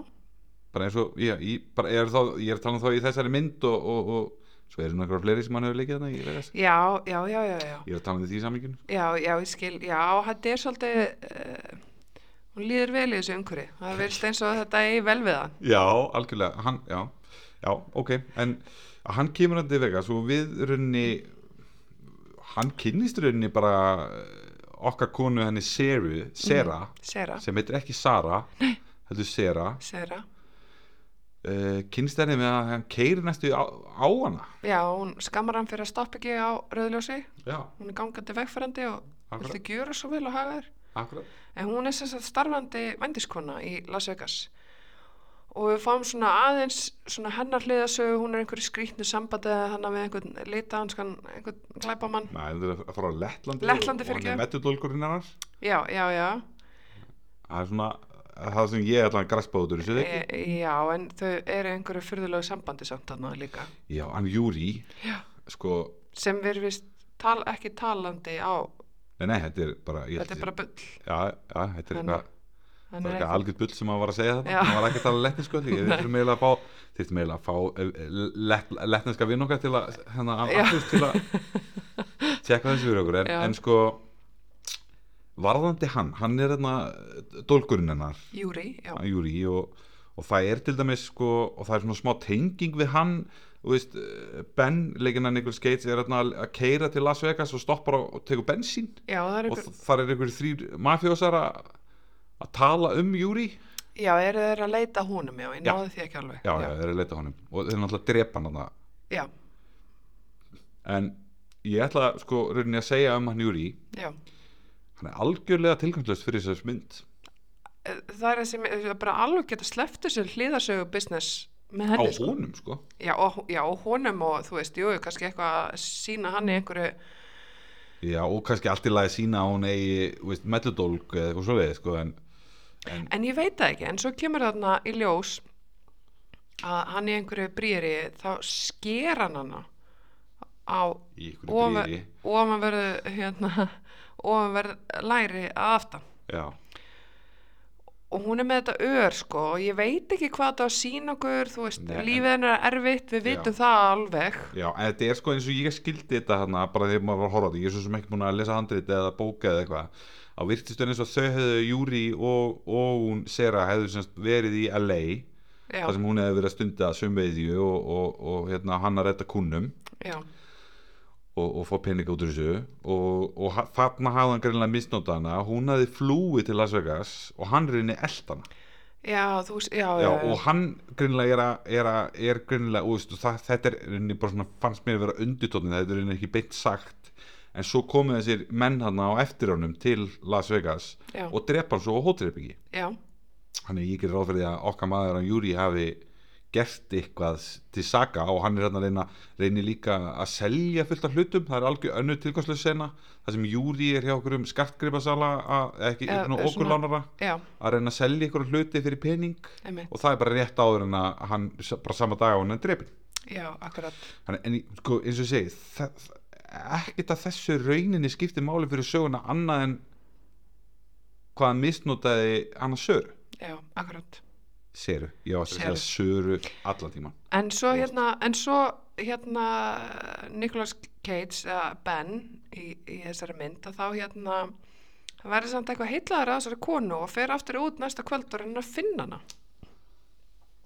Speaker 2: bara eins og, já, ég, bara er þá, ég er talað þá í þessari mynd og, og, og svo eru nákvæmlega fleiri sem hann hefur leikið þannig í Vegas
Speaker 1: já, já, já, já, já,
Speaker 2: ég er að tala um því samlinginu
Speaker 1: já, já, ég skil, já, þetta er svolítið, uh, hún líður vel í þessu umhverfi það verðist eins og þetta eigi vel við hann
Speaker 2: Já, algjörlega, hann, já, já, ok, en hann kemur hann til Vegas og við raunni, hann kynnist raunni bara eh, okkar konu henni Seru, Sera,
Speaker 1: Sera,
Speaker 2: sem heitir ekki Sara, Nei. heldur Sera,
Speaker 1: Sera
Speaker 2: uh, kynnist henni með að hann keiri næstu á, á hana.
Speaker 1: já, hún skammar hann fyrir að stoppa ekki á rauðljósi
Speaker 2: Já,
Speaker 1: hún er gangandi vegfærandi og
Speaker 2: Akkurat.
Speaker 1: viltu gjöra svo vel og haga þér
Speaker 2: akkurat.
Speaker 1: en hún er sem sagt starfandi vendiskona í Las Vegas og við fáum svona aðeins svona hennar hliðasögu, hún er einhverju skrýtnu sambandi eða hann með einhvern litahanskan einhvern glæpamann,
Speaker 2: Nei, það er að fara á Lettlandi,
Speaker 1: Lettlandi,
Speaker 2: og hann
Speaker 1: fyrirgefðu.
Speaker 2: er mettudólkurinn hennar.
Speaker 1: já, já, já
Speaker 2: Það er svona, það sem ég ætla að græspa út úr þessu.
Speaker 1: e, já, en þau eru einhverju fyrðulegu sambandi samt þarna líka
Speaker 2: Já, hann Júri,
Speaker 1: já.
Speaker 2: sko,
Speaker 1: sem við erum vist tal, ekki talandi á
Speaker 2: nei, nei, þetta er bara, ég
Speaker 1: þetta er bara bull
Speaker 2: Já, já, þetta er
Speaker 1: Hann-
Speaker 2: eitthvað
Speaker 1: hann
Speaker 2: Það er
Speaker 1: er
Speaker 2: eitthvað
Speaker 1: ekki,
Speaker 2: algjörð bull sem hann var að segja þetta
Speaker 1: Já.
Speaker 2: Hann var ekki að tala letninsku Því við þurfum eiginlega að fá Þyrftum eiginlega að fá eh, let, letninska vinn okkar til að Hennar
Speaker 1: Já.
Speaker 2: alltaf til að Tjekka þessu fyrir okkur En,
Speaker 1: Já.
Speaker 2: en sko Varðandi hann, hann er þarna Dólkurinn hennar,
Speaker 1: Júri, já,
Speaker 2: Júri og, og það er til dæmis sko Og það er svona smá tenging við hann Þú veist, eh, Ben, leikinn hann einhver skeits Er þarna að keira til Las Vegas Og stoppar og, og tekur bensín
Speaker 1: já, það er
Speaker 2: og
Speaker 1: einhver
Speaker 2: þ- þar er einhverjir þrýr mafjósar að að tala um Júri já,
Speaker 1: já, eru þeir að leita að honum, já, ég
Speaker 2: Já.
Speaker 1: náði því ekki alveg
Speaker 2: já, þeir eru að leita að honum og þeir náttúrulega drepa hann þarna.
Speaker 1: já,
Speaker 2: en ég ætla sko rauninni að segja um hann Júri
Speaker 1: já.
Speaker 2: hann er algjörlega tilgangslöst fyrir þessu mynd
Speaker 1: Eh, það er þessi, það er bara alveg geta sleppt þessu hliðasögu business með
Speaker 2: á
Speaker 1: henni, sko
Speaker 2: honum sko
Speaker 1: já og, já, og honum og þú veist, jú, kannski eitthvað að sína hann í einhverju
Speaker 2: já, og kannski allt í lagi sína að hún eigi þú veist, melludólg eða eitthvað svoleiði sko en
Speaker 1: en ég veit það ekki, en svo kemur þarna í ljós að hann í einhverju brýri þá sker hann hana á
Speaker 2: í einhverju brýri
Speaker 1: ofan ofan verður hérna, ofan verður læri að aftan
Speaker 2: já,
Speaker 1: og hún er með þetta ör sko og ég veit ekki hvað þetta á að sína okkur þú veist,
Speaker 2: Nei, en-
Speaker 1: lífið hennar er erfitt við
Speaker 2: Já.
Speaker 1: vitum það alveg
Speaker 2: já, en þetta er sko eins og ég skildi þetta hann bara þegar maður var að horfa á þetta ég er svo sem ekki búin að lesa handrit eða bóka eða eitthvað á virtistöðin eins og þau hefðu Júri og, og hún Sera hefðu semst verið í LA
Speaker 1: já,
Speaker 2: þar sem hún hefði verið að stunda sömveiðju og, og, og hérna, hann að redda kunnum
Speaker 1: já,
Speaker 2: og, og fá pening út úr þessu og, og ha- þarna hafði hann greinlega misnóta hana hún hafði flúið til Las Vegas og hann reyni eldana
Speaker 1: já, þú veist já,
Speaker 2: Já,
Speaker 1: já,
Speaker 2: og hann greinlega er, að, er, að, er greinlega, og veistu, það, þetta er reyni bara svona, fannst mér að vera undirtónin þetta er reyni ekki beint sagt en svo komið þessir menn hann á eftir honum til Las Vegas
Speaker 1: Já.
Speaker 2: og drepa hann svo á hótreipingi
Speaker 1: já,
Speaker 2: Þannig ég gerir ráð fyrir því að okkar maður hann Júri hafi gert eitthvað til saga og hann er hérna að reyna reynir líka að selja fullt af hlutum það er algjör önnu tilgangslega sena það sem Júri er hjá okkur um skattgripasala eða ekki
Speaker 1: Eða-
Speaker 2: eitthvað
Speaker 1: eða svona-
Speaker 2: okkurlánara
Speaker 1: já,
Speaker 2: að reyna að selja ykkur hluti fyrir pening
Speaker 1: einmitt
Speaker 2: og það er bara rétt áður en að hann bara sama dag á hann er drepin
Speaker 1: já, akkurat,
Speaker 2: Þannig, en ég- sko, eins og ég segi það, ekkert að þessu rauninni skiptir máli fyrir söguna annað en hvað hann misnotaði annars sögur
Speaker 1: já, akkurat
Speaker 2: Seru, ég var að segja Söru allan tíman
Speaker 1: en svo hérna, en svo hérna Nicolas Cage eða Ben í, í þessari mynd að þá hérna hann verður samt eitthvað heillaður að þessari konu og fer aftur út næsta kvöld og reynir að finna hana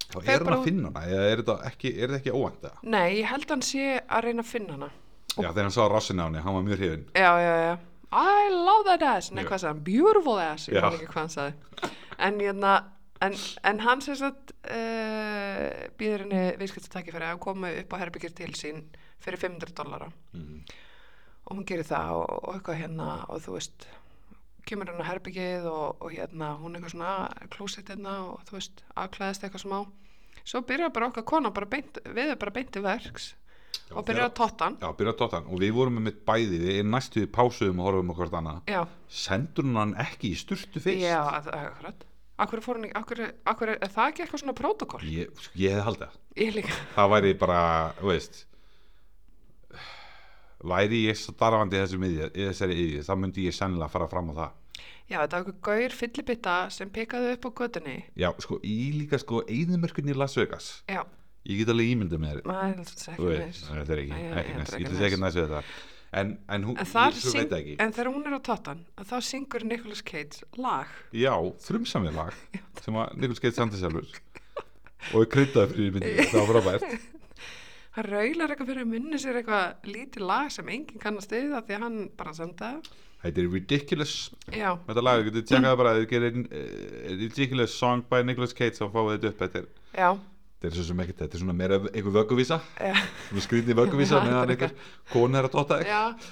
Speaker 2: Þá
Speaker 1: Fer
Speaker 2: er hann
Speaker 1: bara
Speaker 2: að
Speaker 1: út-
Speaker 2: finna hana, eða er þetta ekki, er þetta ekki óvænt það?
Speaker 1: Nei, ég held hann sé að reyna að finna hana.
Speaker 2: Já, þegar hann sá rassin á henni, hann var mjög hrifin
Speaker 1: Já, já, já. I love that ass. Nei,
Speaker 2: Já.
Speaker 1: hvað sagði hann? Beautiful ass. Ég
Speaker 2: Já.
Speaker 1: veit ekki hvað hann sagði. En, hérna, en, en hann sem sagt uh, býður henni viðskiptatæki fyrir að koma upp á herbyggir til sín fyrir 500 dollara. Mm. Og hún gerir það og, og eitthvað hérna og þú veist, kemur hann á herbyggið og, og hérna hún eitthvað svona klósett hérna og þú veist, afklæðist eitthvað smá. Svo byrjar bara okkar kona, bara beint, við erum bara beint til verks og byrjar
Speaker 2: þegar-
Speaker 1: að totta hann.
Speaker 2: Já, byrja að tóta hann og við vorum með bæði, við erum næstu um við pásuðum og horfum okkur annað
Speaker 1: Já,
Speaker 2: Sendur hún hann ekki í sturtu fyrst?
Speaker 1: Já, að- akkurat. Akkur fór hann ekki, akkur, akkur er það ekki eitthvað svona prótokoll?
Speaker 2: Ég, sko, ég hefði haldið það.
Speaker 1: Ég líka.
Speaker 2: það væri bara, þú veist Væri ég starfandi í þessum yðið, í þessari yðið, þá myndi ég sennilega fara fram á það
Speaker 1: Já, þetta var eitthvað gaur fyllibitta sem pekaði upp á götunni.
Speaker 2: Já, sko, ég líka sko, eðimörkunni í Las Vegas
Speaker 1: Já,
Speaker 2: Ég get alveg ímyndið með þér
Speaker 1: maður er alltaf
Speaker 2: Þú
Speaker 1: ekki
Speaker 2: veist,
Speaker 1: neins.
Speaker 2: Nei, þetta er ekki,
Speaker 1: Nei,
Speaker 2: ekki
Speaker 1: þetta er
Speaker 2: næst,
Speaker 1: ekki
Speaker 2: ég lýs ekki
Speaker 1: næs.
Speaker 2: næst við þetta en, en hún,
Speaker 1: En,
Speaker 2: ég
Speaker 1: þar
Speaker 2: svo
Speaker 1: syng,
Speaker 2: veit það ekki
Speaker 1: en þegar hún er á tattan, þá syngur Nicolas Cage lag.
Speaker 2: já, þrumsamið lag sem að Nikol Skeitt samtið sjálfur og er kryddaði fyrir myndinni, það var frábært
Speaker 1: Hann raular eitthvað fyrir að munni sér eitthvað lítið lag sem enginn kannast við af því að hann bara senda.
Speaker 2: þetta er Ridiculous
Speaker 1: Já,
Speaker 2: þetta lag, þið tjekkaði bara þið gerir uh, Ridiculous Song by Nicolas Cage og fáið þetta upp, þetta er
Speaker 1: já,
Speaker 2: þetta er svo sem ekkert, þetta er svona meira einhver vögguvísa
Speaker 1: já,
Speaker 2: svona skrýtni vögguvísa
Speaker 1: Já, þetta
Speaker 2: meðan
Speaker 1: er
Speaker 2: einhver kona er að dotta þig
Speaker 1: já.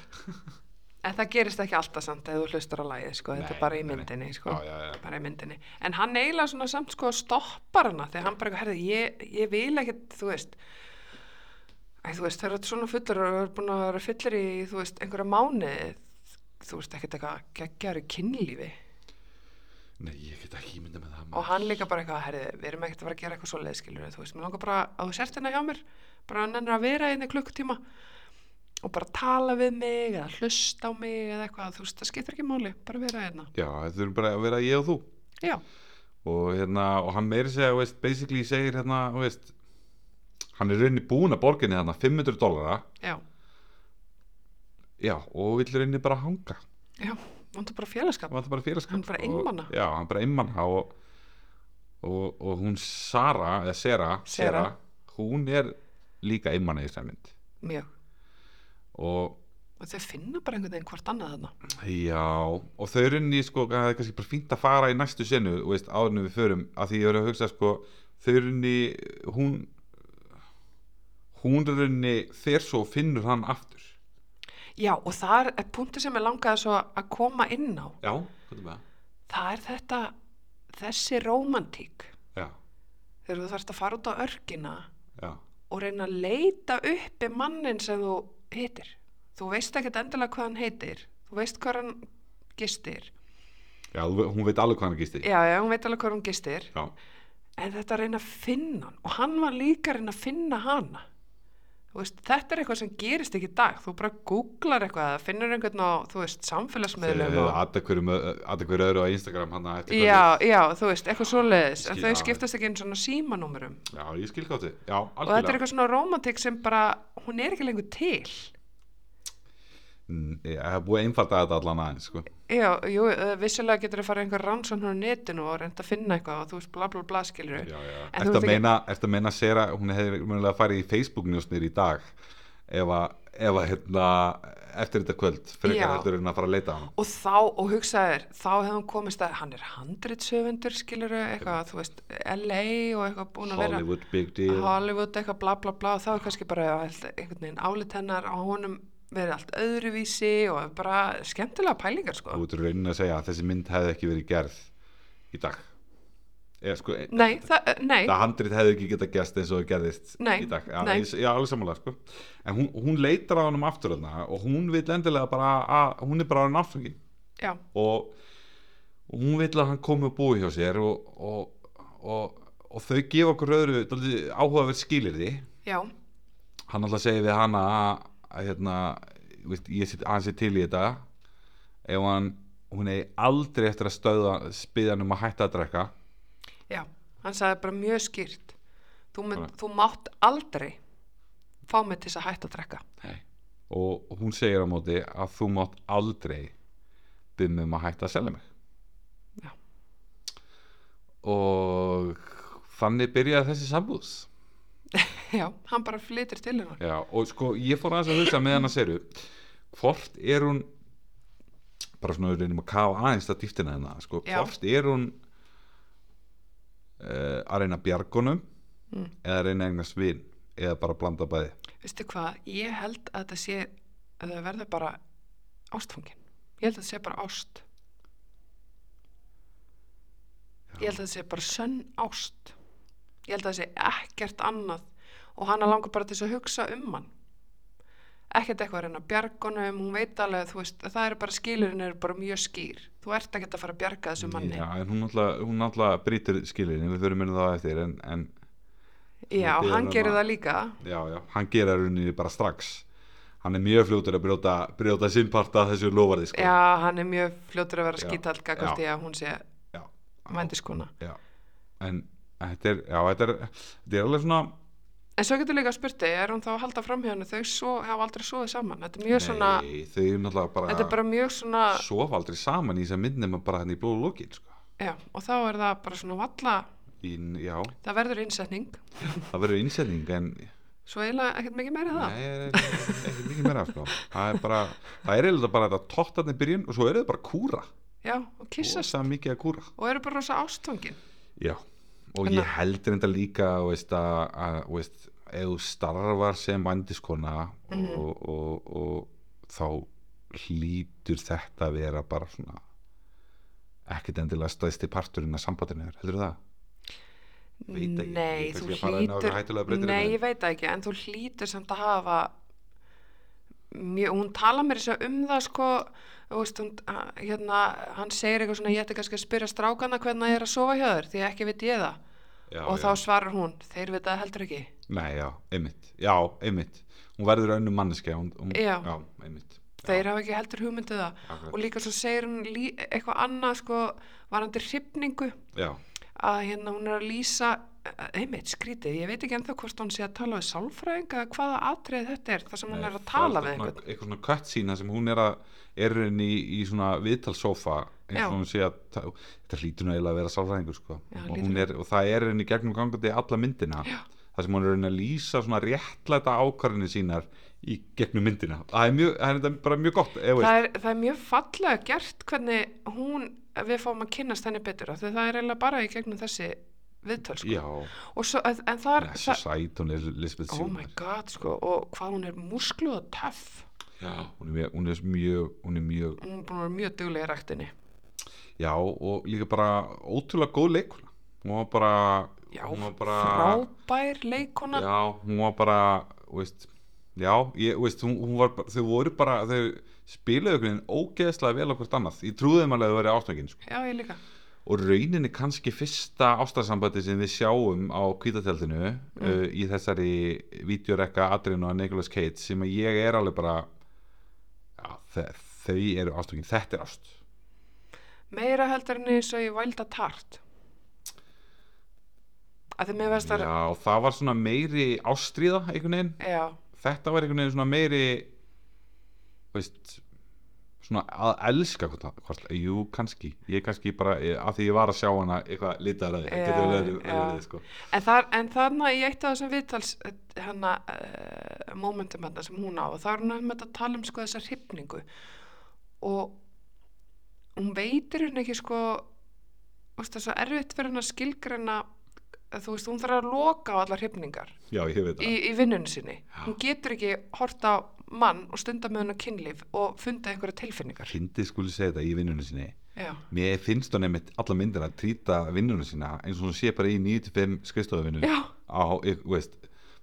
Speaker 1: En það gerist ekki alltaf samt ef þú hlustar á lagið, sko, þetta
Speaker 2: Nei,
Speaker 1: er bara í
Speaker 2: nei, nei.
Speaker 1: myndinni, sko.
Speaker 2: já, já, já,
Speaker 1: bara í myndinni en hann eiginlega svona samt sko stoppar hana þegar hann bara, eitthvað, herði, ég, ég vil ekkert þú veist Æ, þú veist, það er svona fullur og er búin að vera fullur í, þú veist, einhverja mánu þú veist, ekkert eitthvað geggjaru kynlífi
Speaker 2: nei, ég get ekki ímynda með það
Speaker 1: og hann líka bara eitthvað, herði, við erum ekkert að fara að gera eitthvað svo leiðskilur, þú veist, mér langar bara að þú sért hérna hjá mér, bara hann ennur að vera einni klukkutíma og bara tala við mig eða hlusta á mig eða eitthvað, þú veist, það skiptir ekki máli, bara vera hérna
Speaker 2: já, þetta er bara að vera ég og þú
Speaker 1: já,
Speaker 2: og, hérna, og hann meiri segja, þú veist, basically segir hérna, þú veist hann er rauninni búin að borginni þarna 500 dollara
Speaker 1: já,
Speaker 2: já, og vill rauninni bara hanga
Speaker 1: já, vantar bara félagskap
Speaker 2: hann var bara félagskap
Speaker 1: Hann bara einmana.
Speaker 2: og, já, hann bara einmana og, og, og hún Sara, eða Sera,
Speaker 1: Sera. hún
Speaker 2: hún er líka einmana í þessari mynd
Speaker 1: mjög
Speaker 2: og
Speaker 1: og þau finna bara einhvern veginn hvort annað þarna
Speaker 2: Já, og þau runni sko, það er kannski bara fínt að fara í næstu senu og veist, áðurinn við förum, að því ég verið að hugsa sko, þau runni hún hún runni þegar svo og finnur hann aftur
Speaker 1: já og það er punktu sem ég langaði svo að koma inn á
Speaker 2: Já, hvað er með það?
Speaker 1: það er þetta þessi rómantík
Speaker 2: Já,
Speaker 1: þegar þú þarfst að fara út á örkina
Speaker 2: já,
Speaker 1: og reyna að leita uppi mannin sem þú heitir þú veist ekkert endilega hvað hann heitir þú veist hvað hann gistir
Speaker 2: já, þú- hún veit alveg hvað hann gisti
Speaker 1: já, já, hún veit alveg hvað hann gistir
Speaker 2: Já,
Speaker 1: en þetta að reyna að finna hann og hann var líka að reyna að finna hana Þú veist, þetta er eitthvað sem gerist ekki í dag þú bara googlar eitthvað eða finnur einhvern á, þú veist,
Speaker 2: þegar
Speaker 1: samfélagsmiðlum
Speaker 2: þau
Speaker 1: og-
Speaker 2: aðda hverju öðru á Instagram hann eftir hverju-
Speaker 1: hérna. já, já, þú veist, eitthvað svoleiðis en
Speaker 2: Skil-
Speaker 1: þau
Speaker 2: já.
Speaker 1: skiptast ekki einu svona símanúmerum
Speaker 2: já, ég skil gátti Já,
Speaker 1: og þetta er
Speaker 2: algjörlega
Speaker 1: eitthvað svona romantik sem bara hún er ekki lengur til
Speaker 2: Mm, Ég hef búið að einfalda þetta allan aðeins sko.
Speaker 1: já, jú, eh, vissulega getur þú farið einhver rannsókn á netinu og reynda að finna eitthvað og þú veist, bla bla bla skilur
Speaker 2: já, já.
Speaker 1: En þú
Speaker 2: Ertu að
Speaker 1: ert ekki-
Speaker 2: meina, eftir að meina Sera, hún hefði mjögulega farið í Facebook njósnir í dag ef að, ef að hérna, eftir þetta kvöld
Speaker 1: Já.
Speaker 2: frekar heldur en að fara að leita á hann
Speaker 1: og þá, og hugsaðir, þá hefum komist að hann er handritsöfundur, skilur eitthvað, þú veist, LA og eitthvað búin að vera
Speaker 2: Hollywood big deal
Speaker 1: Hollywood, eitthvað bla bla bla og þá er kannski bara allt- einhvern veginn álit hennar á honum verið allt öðruvísi og bara skemmtilega pælingar sko
Speaker 2: Þú ert raunin að segja að þessi mynd hefði ekki verið gerð í dag Eða, sko, e-
Speaker 1: Nei, það, eh, nei,
Speaker 2: það handrit hefði ekki getað gerst eins og það gerðist
Speaker 1: Nei,
Speaker 2: í dag já,
Speaker 1: nei.
Speaker 2: ég- já, alveg samanlega sko. en hún, hún leitar á hann um aftur þarna og hún vil endilega bara að, hún er bara á hann afsöngin
Speaker 1: já,
Speaker 2: og, og hún vil að hann komi og búi hjá sér og, og, og, og þau gefa okkur öðru áhugaverð skilir því
Speaker 1: já,
Speaker 2: hann alltaf segir við hana að, að hérna, þú veist, ég set, hann sé til í þetta ef hann hún eigi aldrei eftir að stöða spyða hann um að hætta að drekka
Speaker 1: já hann sagði bara mjög skýrt þú, mynd,
Speaker 2: Bara-
Speaker 1: þú mátt aldrei fá mig til þess að hætta að drekka
Speaker 2: Nei. og hún segir á móti að þú mátt aldrei byrja um að hætta að selja mig
Speaker 1: Já.
Speaker 2: og þannig byrjaði þessi sambúðs
Speaker 1: Já, hann bara flytir til hennar
Speaker 2: Já, og sko, ég fór aðeins að hugsa með hann að seru hvort er hún bara svona við reynum að kafa aðeins það dýftina hennar, sko,
Speaker 1: Já.
Speaker 2: hvort er hún uh, að reyna bjargunum
Speaker 1: Mm.
Speaker 2: eða að reyna að eignast vin eða bara blanda bæði
Speaker 1: Veistu hvað, ég held að þetta sé að það verður bara ástfangin ég held að þetta sé bara ást ég held að þetta sé bara sönn ást ég held að þetta sé ekkert annað og hana langar bara til þess að hugsa um hann ekkert eitthvað að reyna að bjarga honum hún veit alveg að þú veist að það eru bara skilurinn eru bara mjög skýr þú ert ekkert að fara að bjarga þessu manni
Speaker 2: Já, en hún náttúrulega, hún náttúrulega brýtur skilin við förum minna það á eftir en, en
Speaker 1: já
Speaker 2: Þú biður
Speaker 1: hann
Speaker 2: um
Speaker 1: gerir
Speaker 2: að-
Speaker 1: það líka
Speaker 2: já, já, hann gera rauninni bara strax hann er mjög fljótur að brjóta, brjóta sinnparta þessu lofarði sko.
Speaker 1: já hann er mjög fljótur að vera
Speaker 2: Já,
Speaker 1: skítall
Speaker 2: já.
Speaker 1: gagast í að hún sé
Speaker 2: Já.
Speaker 1: vendiskona
Speaker 2: já, en þetta er, já, þetta er, þetta er alveg svona
Speaker 1: En svo getur líka spurt þig, er hún þá að halda framhjóðinu, þau svo, hafa aldrei svoðið saman. Þetta er mjög svona,
Speaker 2: Nei, þau eru náttúrulega bara,
Speaker 1: þetta er bara mjög svona,
Speaker 2: sofa aldrei saman í þess að minnum bara hann í blóðu lókin sko.
Speaker 1: já, og þá er það bara svona valla,
Speaker 2: í, Já,
Speaker 1: það verður innsetning,
Speaker 2: það verður innsetning en
Speaker 1: svo eiginlega ekkert mikið meira en það.
Speaker 2: Nei, er- er- er ekki mikið meira sko. það er bara, það er eiginlega bara þetta tóttarni byrjun og svo eru þau bara að kúra
Speaker 1: Já, og kissast,
Speaker 2: og mikið að kúra
Speaker 1: og eru bara rosa ástfangin.
Speaker 2: Já, og
Speaker 1: En
Speaker 2: ég
Speaker 1: að-
Speaker 2: heldur þetta líka þú veist, að, að þú veist, ef þú starfar sem vandiskona og, og, og þá hlýtur þetta að vera bara svona ekkert endilega stæðsti parturinn að sambandinu er, heldur það? Veit ekki,
Speaker 1: Nei,
Speaker 2: ég
Speaker 1: þú
Speaker 2: kannski að fara inn á einhverja
Speaker 1: hlýtur,
Speaker 2: hættulega brautir hérna.
Speaker 1: nei, ég veit það ekki, en þú hlýtur samt að hafa, mjög, hún tala mér þess að segja um það, sko, þú veist, hún, h- hérna, hann segir eitthvað svona, ég ætti kannski að spyrja strákana hvernig það er að sofa hjá þér, því að ekki veit ég það.
Speaker 2: Já,
Speaker 1: og
Speaker 2: já.
Speaker 1: þá svarar hún, þeir veit það heldur ekki
Speaker 2: Nei, já, einmitt, já, einmitt hún verður önnum manneski hún, hún,
Speaker 1: Já.
Speaker 2: einmitt
Speaker 1: þeir hafa ekki heldur hugmyndið það
Speaker 2: Akkurat.
Speaker 1: og líka svo segir hún lí, eitthvað annað sko, varandi hrifningu
Speaker 2: Já,
Speaker 1: að hérna hún er að lýsa eh, einmitt skrítið, ég veit ekki ennþá hvort hún sé að tala við sálfræðing eða hvaða atrið þetta er þar sem hún
Speaker 2: Nei,
Speaker 1: er að
Speaker 2: það
Speaker 1: tala við
Speaker 2: alltaf svona
Speaker 1: einhvern
Speaker 2: eitthvað svona cutscene þar sem hún er að er henni í, í svona viðtalsófa eins
Speaker 1: Já.
Speaker 2: og hún sé að ta- þetta hlýtur nægilega að vera sálfræðingur sko.
Speaker 1: Já,
Speaker 2: og,
Speaker 1: hlýtur
Speaker 2: hún er, og það er henni gegnum gangandi alla myndina Já. þar sem hún er henni að lýsa svona réttlæta ákvarðinu sínar í gegnum myndina það er, mjög, það er þetta bara mjög gott ef,
Speaker 1: það er, það er mjög fallega gert hvernig hún, við fáum að kynnast henni betur af því það er eiginlega bara í gegnum þessi viðtöl sko.
Speaker 2: Já,
Speaker 1: Og svo, en en það er,
Speaker 2: þessu
Speaker 1: það,
Speaker 2: sæt hún er Lisbeth
Speaker 1: oh my
Speaker 2: Sigurðardóttir.
Speaker 1: god sko, og hvað hún er muskluð og töff
Speaker 2: Já, hún er, mjög- hún er mjög, hún er mjög
Speaker 1: hún er búin að vera mjög duglega í ræktinni
Speaker 2: já og líka bara ótrúlega góð leikuna hún var bara
Speaker 1: já,
Speaker 2: hún var bara
Speaker 1: frábær leikona já,
Speaker 2: Já, hún var bara, þú veist, já, ég, þú veist, hún, hún var, bara- þau voru bara, þau spilaðu einhvern veginn ógeðslega vel okkur annað. Ég trúði þeim alveg að þau verið ástöngin, sko.
Speaker 1: ég líka
Speaker 2: Og rauninni kannski fyrsta ástarsambandi sem við sjáum á kvítatjaldinu
Speaker 1: Mm.
Speaker 2: uh, í þessari vídeorekka Adrian og Nicolas Cage sem að ég er alveg bara, já, þe þau eru ástöngin, þetta er ást.
Speaker 1: meira heldur en eins og ég vælda tart að því mér veist að
Speaker 2: Já, það var svona meiri ástríða einhvern veginn.
Speaker 1: já,
Speaker 2: þetta var einhvern veginn svona meiri þú veist svona að elska hvort, hvort jú, kannski, ég kannski bara ég, af því ég var að sjá hana eitthvað litaðar að
Speaker 1: Já, já.
Speaker 2: þið sko.
Speaker 1: en, þar, en þarna í eitt af þessum viðtals hana uh, momentum hana sem hún á og þá er hún með að tala um sko þessa hrifningu og hún veitir henni ekki sko þú veist það er svo erfitt fyrir henni að skilgreina þú veist, hún þarf að loka á allar hrifningar
Speaker 2: já, ég
Speaker 1: í,
Speaker 2: veit það
Speaker 1: í vinnunni sinni hún getur ekki horta á mann og stunda með hennar kynlíf og funda einhverja tilfinningar
Speaker 2: Hindið skuli segja þetta í vinnunum sinni
Speaker 1: já,
Speaker 2: mér finnst hún einmitt alla myndina að trýta vinnunum sína eins og hún sé bara í 9-5 skrifstofuvinnu
Speaker 1: Já.
Speaker 2: á, ég- þú veist,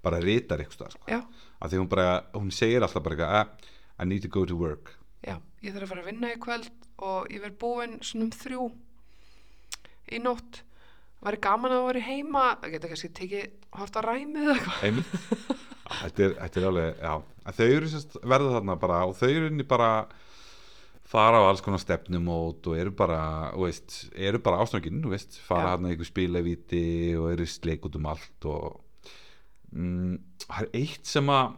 Speaker 2: bara ritar eitthvað sko.
Speaker 1: já,
Speaker 2: af því hún bara, hún segir alltaf bara eitthvað, "Eh, I need to go to work
Speaker 1: já ég þarf að fara að vinna í kvöld og ég verð búin svona um þrjú í nótt væri gaman að það væri heima það geta kannski tekið horta á ræmið eða eitthvað
Speaker 2: einmitt þetta er, þetta er alveg, já Að þau eru sérst, verða þarna bara og þau eru inni bara fara á alls konar stefnumót og eru bara, þú veist, eru bara ástöngin, þú veist, fara
Speaker 1: Já.
Speaker 2: þarna í einhver spilavíti og eru sleik út um allt og mm, það er eitt sem að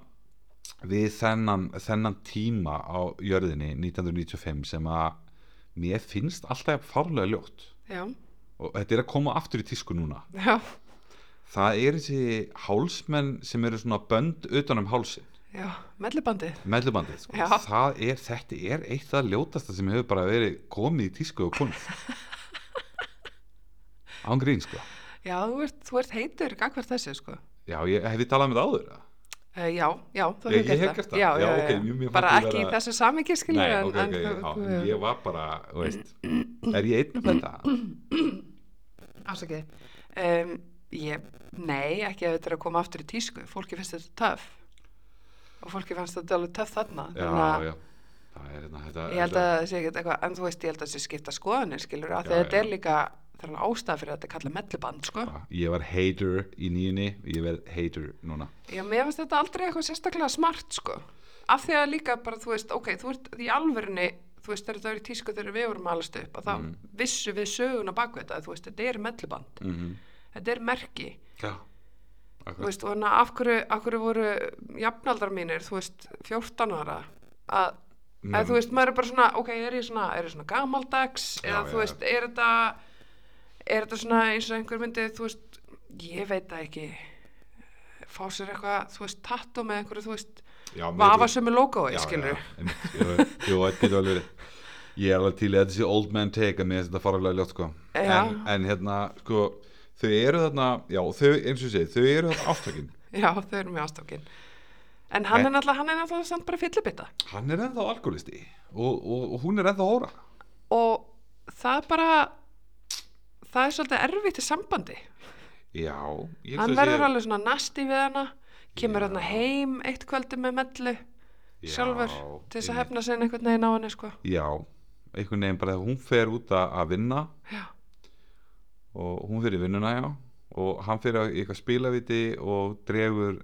Speaker 2: við þennan, þennan tíma á jörðinni 1995 sem að mér finnst alltaf fárlega ljótt
Speaker 1: já,
Speaker 2: og þetta er að koma aftur í tísku núna
Speaker 1: já,
Speaker 2: það er þessi hálsmenn sem eru svona bönd utanum hálsin
Speaker 1: já, mellibandið
Speaker 2: mellubandið, sko.
Speaker 1: Já.
Speaker 2: það er þetta er eitt það ljótasta sem hefur bara verið komið í tísku og konf án grín, sko
Speaker 1: já, þú ert, þú ert heitur gagvart þessu sko
Speaker 2: já, ég, hef ég talað um þetta áður?
Speaker 1: Uh, já, já, þú
Speaker 2: Ég-
Speaker 1: hefur
Speaker 2: ég hef gert það.
Speaker 1: Já,
Speaker 2: Já,
Speaker 1: já, já,
Speaker 2: ok, mjög- mjög
Speaker 1: bara
Speaker 2: fannst ég
Speaker 1: ekki í
Speaker 2: vera-
Speaker 1: þessu samingi skilur
Speaker 2: nei,
Speaker 1: en-
Speaker 2: ok,
Speaker 1: en
Speaker 2: ok,
Speaker 1: þú-
Speaker 2: já,
Speaker 1: þú-
Speaker 2: ég var bara þú veist, er ég einn af þetta?
Speaker 1: Afsakið. Um, ég, nei, ekki að þetta er að koma aftur í tísku. Fólki finnst þetta töff. Og fólki finnst þetta alveg töff þarna.
Speaker 2: já,
Speaker 1: þannig að
Speaker 2: já, það er hérna þetta,
Speaker 1: Ég held að það sé ekkert eitthvað, en þú veist, ég held að það sé skipta skoðanir, skilur, af því
Speaker 2: Já,
Speaker 1: að þetta
Speaker 2: já.
Speaker 1: er líka, það er alveg ástæða fyrir að þetta er kallað melluband, sko.
Speaker 2: ég var hater í nýjunni ég verð hater núna
Speaker 1: Já, mér finnst þetta aldrei eitthvað sérstaklega smart, sko. Af því að líka bara, þú veist, ok, þú ert í alvörinni, þú veist, þegar þetta er í tísku þegar við vorum að alast upp, að það
Speaker 2: Mm.
Speaker 1: vissu við söguna baku þetta, að þú veist, þetta er melluband.
Speaker 2: mm -hmm.
Speaker 1: Þetta er merki.
Speaker 2: já,
Speaker 1: Mhm. Þú veist, og þannig að af hverju, af hverju voru jafnaldrar mínir, þú veist, 14 ára að,
Speaker 2: Nei.
Speaker 1: að þú veist, maður er bara svona, ok, er ég svona, er ég svona gamaldags
Speaker 2: Já,
Speaker 1: eða þú
Speaker 2: já,
Speaker 1: veist, er þetta er þetta svona eins og einhver myndi þú veist, ég veit það ekki fá sér eitthvað, þú veist, tattu með einhverju, þú veist,
Speaker 2: Já, mér-
Speaker 1: vafa sem er logoið,
Speaker 2: Já,
Speaker 1: skilur
Speaker 2: já, einmitt, Jú, jú, þetta getur alveg verið Ég er alveg til í að þetta sé old man take en mér finnst þetta faralega ljótt sko
Speaker 1: Já.
Speaker 2: en, en hérna, sko þau eru þarna, já, þau, eins og ég segi þau eru þarna ástökin
Speaker 1: já, þau eru mjög ástofkin en hann
Speaker 2: En-
Speaker 1: er náttúrulega, hann er náttúrulega samt bara fyllibitta
Speaker 2: Hann er ennþá alkoholisti og, og, og hún er ennþá óra
Speaker 1: og það er bara það er svolítið erfitt í sambandi
Speaker 2: Já, ég
Speaker 1: hann
Speaker 2: hugsa að
Speaker 1: verður
Speaker 2: sé-
Speaker 1: alveg svona nasti við hana kemur
Speaker 2: Já.
Speaker 1: hann heim eitt kvöldi með mellu
Speaker 2: Já,
Speaker 1: sjálfur til þess að
Speaker 2: einmitt.
Speaker 1: hefna sinni einhvern veginn á henni sko.
Speaker 2: Já, einhvern veginn bara þegar hún fer út að- að vinna
Speaker 1: Já.
Speaker 2: og hún fer í vinnuna já og hann fer í eitthvað spilaviti og dregur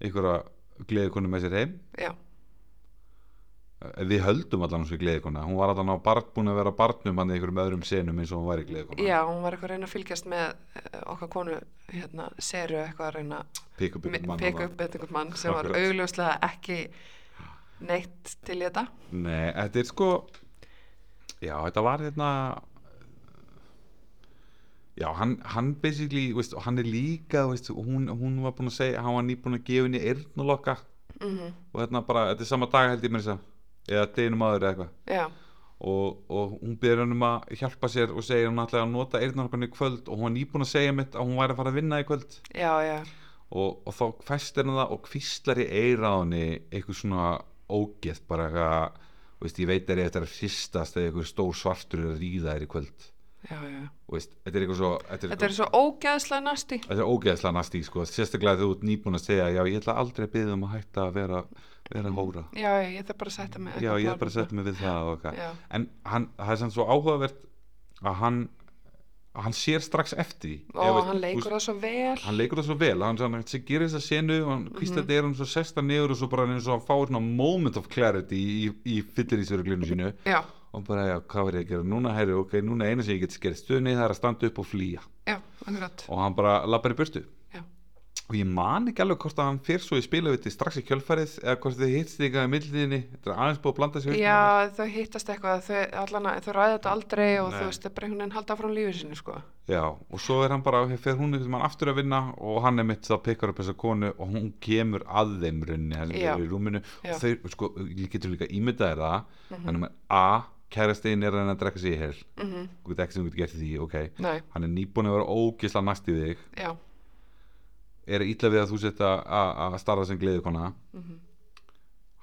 Speaker 2: einhverja gleðikonu með sér heim
Speaker 1: Já.
Speaker 2: Eh, við höldum allan þessu gleðikona hún var allan á barn, búin að vera barnum hann í einhverjum öðrum senum eins og hún var í gleðikona
Speaker 1: Já, hún var eitthvað að reyna að fylgjast með eh, okkar konu hérna, seru eitthvað að reyna að
Speaker 2: pikk upp ykkur
Speaker 1: mi-
Speaker 2: mann
Speaker 1: peka upp einhvern mann sem var
Speaker 2: Akkurat.
Speaker 1: augljóslega ekki neitt til í þetta
Speaker 2: nei, þetta er sko já, þetta var hérna já, hann, hann basically, þú veist, og hann er líka þú veist, hún, hún var búin að segja, hann var nýbúin að gefa henni eyrnulokka
Speaker 1: mm -hmm.
Speaker 2: og hérna bara, þetta er sama dag held ég mér þess að eða deginum aður eða eitthvað
Speaker 1: Já,
Speaker 2: og, og hún byrður hann um að hjálpa sér og segir hún ætlaði að nota eyrnulokkan í kvöld og hún var nýbúin að segja mitt að hún væri að fara að vinna í kvöld
Speaker 1: já, já
Speaker 2: og, og þá festir hann það og kvistlar í eiraðunni eitthvað svona ógeð bara eitthvað þú veist, ég veit er ég eftir að hristast eða eitthvað stór svartur er að ríða þér í kvöld
Speaker 1: Já, já.
Speaker 2: Þú veist, þetta er eitthvað svo þetta er,
Speaker 1: Þetta er svo ógeðslega nasti
Speaker 2: þetta er ógeðslega nastí sko, sérstaklega þegar þú ert nýbúin að segja já, ég ætla aldrei að byggja um að hætta að vera,
Speaker 1: Mm.
Speaker 2: vera hóra,
Speaker 1: Já, já, ég þarf bara að setja mig
Speaker 2: já, ég er bara að setja mig við það og eitthvað,
Speaker 1: Já,
Speaker 2: en hann, það er samt svo áhugavert að hann að hann sér strax eftir því. Ef,
Speaker 1: og hann
Speaker 2: veist, þú veist,
Speaker 1: leikur það svo vel
Speaker 2: hann leikur það svo vel hann, hann, hann gerir þess að senu og
Speaker 1: Mhm.
Speaker 2: hann kvíslar mm -hmm. svo sesta niður og svo bara eins og hann fáir svona moment of clarity í, í, í fyllir í sörglunum sínu
Speaker 1: Já,
Speaker 2: og bara, já, hvað verður ég að gera núna, herri, ok, núna eina sem ég get skert stöðni það er að standa upp og flýja
Speaker 1: já, akkurat
Speaker 2: og hann bara lappar í burtu
Speaker 1: Já.
Speaker 2: og ég man ekki alveg hvort að hann fyrir svo í spilaviti strax í kjölfærið eða hvort þið hittst eitthvað í milliðinni þetta er aðeins búið að blanda sér
Speaker 1: Já, þau hittast eitthvað, þau, allan, að- þau ræða þetta aldrei og
Speaker 2: Nei.
Speaker 1: þú veist, þau bara einhvern veginn halda frá lífið sinni, sko.
Speaker 2: Já, og svo er hann bara, fer hún einhvern veginn aftur að vinna og hann er mitt það pikkar upp þessa konu og hún kemur að þeim runni, hann
Speaker 1: Já.
Speaker 2: er í rúminu
Speaker 1: Já. Mhm.
Speaker 2: og þau, sko, ég getur líka ímyndaðir það hann er með A, kærastegin er að reyna að drekka sig í hel
Speaker 1: Mm
Speaker 2: þú veit ekki sem þú getur gert í því, ok
Speaker 1: Nei,
Speaker 2: hann er nýbúin að vera ógisla næst í þig
Speaker 1: já,
Speaker 2: er ítla við að þú setja að starfa sem gleðikona
Speaker 1: mhm,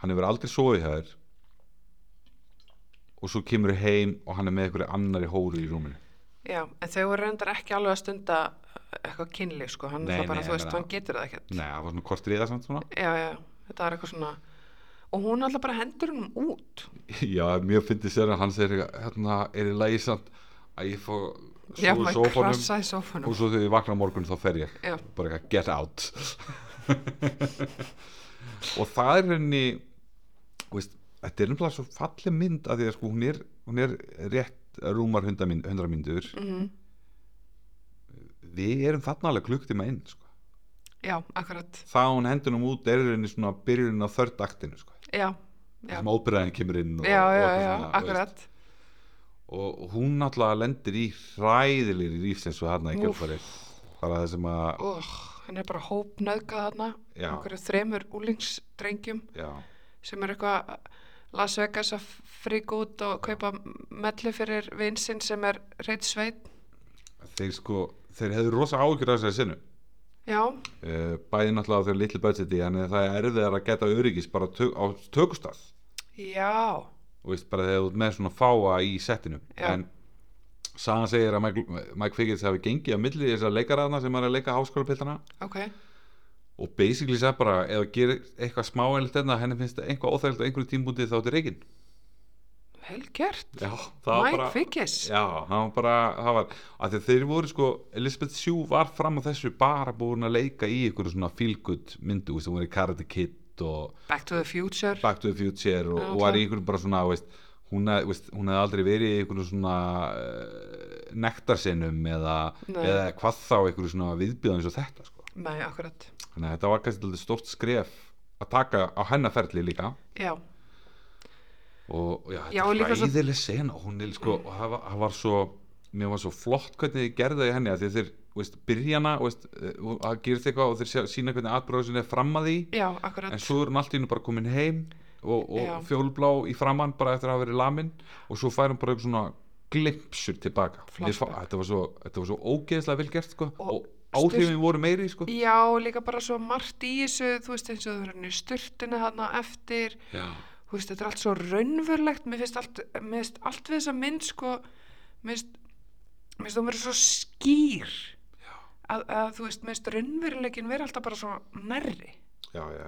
Speaker 2: hann hefur aldrei sofið hjá þér og svo kemur heim og hann er með einhverju annari hóru í rúminu
Speaker 1: já, en þau voru reyndar ekki alveg að stunda eitthvað kynlíf, sko, hann
Speaker 2: Nei,
Speaker 1: er það bara,
Speaker 2: nei,
Speaker 1: þú veist,
Speaker 2: ég meina-
Speaker 1: hann getur það ekkert.
Speaker 2: Nei, það var svona kort riða samt svona
Speaker 1: Já, já, þetta var eitthvað svona, og hún alltaf bara hendur hennum út.
Speaker 2: Já, mjög fyndið sér að hann segir eitthvað, hérna er í lagi samt að ég fór
Speaker 1: Já,
Speaker 2: svo í
Speaker 1: maður
Speaker 2: sófanum
Speaker 1: krassa í
Speaker 2: og
Speaker 1: sófanum.
Speaker 2: svo þegar ég vakna á morgun þá fer ég
Speaker 1: Já,
Speaker 2: bara eitthvað get out og það er henni veist, þetta er nefnilega svo falleg mynd að því að sko hún er, hún er rétt rúmar hundra myndur
Speaker 1: mhm,
Speaker 2: við erum þarna alveg klukktíma inn sko.
Speaker 1: já, akkurat,
Speaker 2: það að hún hendunum út er henni svona byrjun á þörd aktinu sko.
Speaker 1: já, já,
Speaker 2: sem óbyrðaðin kemur inn og,
Speaker 1: já,
Speaker 2: og
Speaker 1: já,
Speaker 2: eitthvað
Speaker 1: já,
Speaker 2: svona, veist.
Speaker 1: akkurat.
Speaker 2: og hún náttúrulega lendir í hræðilegri lífsins og hérna í
Speaker 1: Úff.
Speaker 2: kjálfarið bara það sem að
Speaker 1: Og hann er bara hópnöðgað þarna,
Speaker 2: Já.
Speaker 1: einhverju þremur úlingsdrengjum.
Speaker 2: já,
Speaker 1: sem er eitthvað Las Vegas að fríka út og kaupa mellu fyrir vinsinn sem er reitt sveit
Speaker 2: þeir sko þeir hefðu rosa áhyggjur af þessari sinu
Speaker 1: já,
Speaker 2: uh, bæði náttúrulega á þeir litlu budgeti en það er erfiðar að geta öryggis bara tök, á tökustað
Speaker 1: já,
Speaker 2: og veist bara þegar þú ert með svona fáa í settinu
Speaker 1: Já.
Speaker 2: en sagan segir að Mike, Mike Figgins hafi gengið á milli þessar leikaraðna sem er að leika háskólapillana
Speaker 1: ok
Speaker 2: og basically sagði bara ef það gerir eitthvað smá enn þetta henni finnst það eitthvað óþægilt á einhverju tímbúndi þá þetta er reygin
Speaker 1: vel gert,
Speaker 2: Já, það var
Speaker 1: Mike
Speaker 2: bara
Speaker 1: Figgis
Speaker 2: Já, það var bara, það var, að því að þeir voru sko, Elizabeth Shue var fram á þessu bara búin að leika í ykkur svona feel-good myndu, veist, hún var í Karate Kid og
Speaker 1: Back to the Future
Speaker 2: Back to the Future og,
Speaker 1: Já,
Speaker 2: og var
Speaker 1: klart.
Speaker 2: í ykkur bara svona, veist, hún, hef, veist, hún hef aldrei verið í einhvern svona uh, nektarsinnum eða,
Speaker 1: Nei.
Speaker 2: eða hvað þá einhverju svona viðbjöðum eins og þetta sko.
Speaker 1: Nei, akkurat.
Speaker 2: þannig að þetta var kannski til stórt skref að taka á hennaferli líka
Speaker 1: Já,
Speaker 2: og og já, þetta
Speaker 1: Já, og líka
Speaker 2: er
Speaker 1: svo-
Speaker 2: fræðileg sena og hún er sko, og það var, það var svo mér var svo flott hvernig þið gerðu það í henni af því að þeir, veist, byrjana veist, eh, og að gera þetta eitthvað og þeir sjá- sína hvernig atbróðsinn er fram að því
Speaker 1: já, akkurat.
Speaker 2: en svo er hún allt í hennu bara komin heim og,
Speaker 1: Já.
Speaker 2: og fjólblá í framann bara eftir að hafa verið lamin og svo fær hún bara eitthvað svona glimpsur tilbaka Mér fa-
Speaker 1: Flashback.
Speaker 2: þetta var svo, þetta var svo ógeðslega vel gert sko,
Speaker 1: Og
Speaker 2: og, áhrifin voru meiri sko.
Speaker 1: Já, líka bara svo margt í þessu, þú veist, eins og það verður styrtina þarna eftir,
Speaker 2: já,
Speaker 1: þú veist, þetta er allt svo raunverulegt, mér finnst allt, mér finnst allt við þessa mynd, sko, mér finnst, mér finnst hún verið svo skýr, að, að þú veist, mér finnst raunveruleikin verið alltaf bara svo nærri.
Speaker 2: já, já,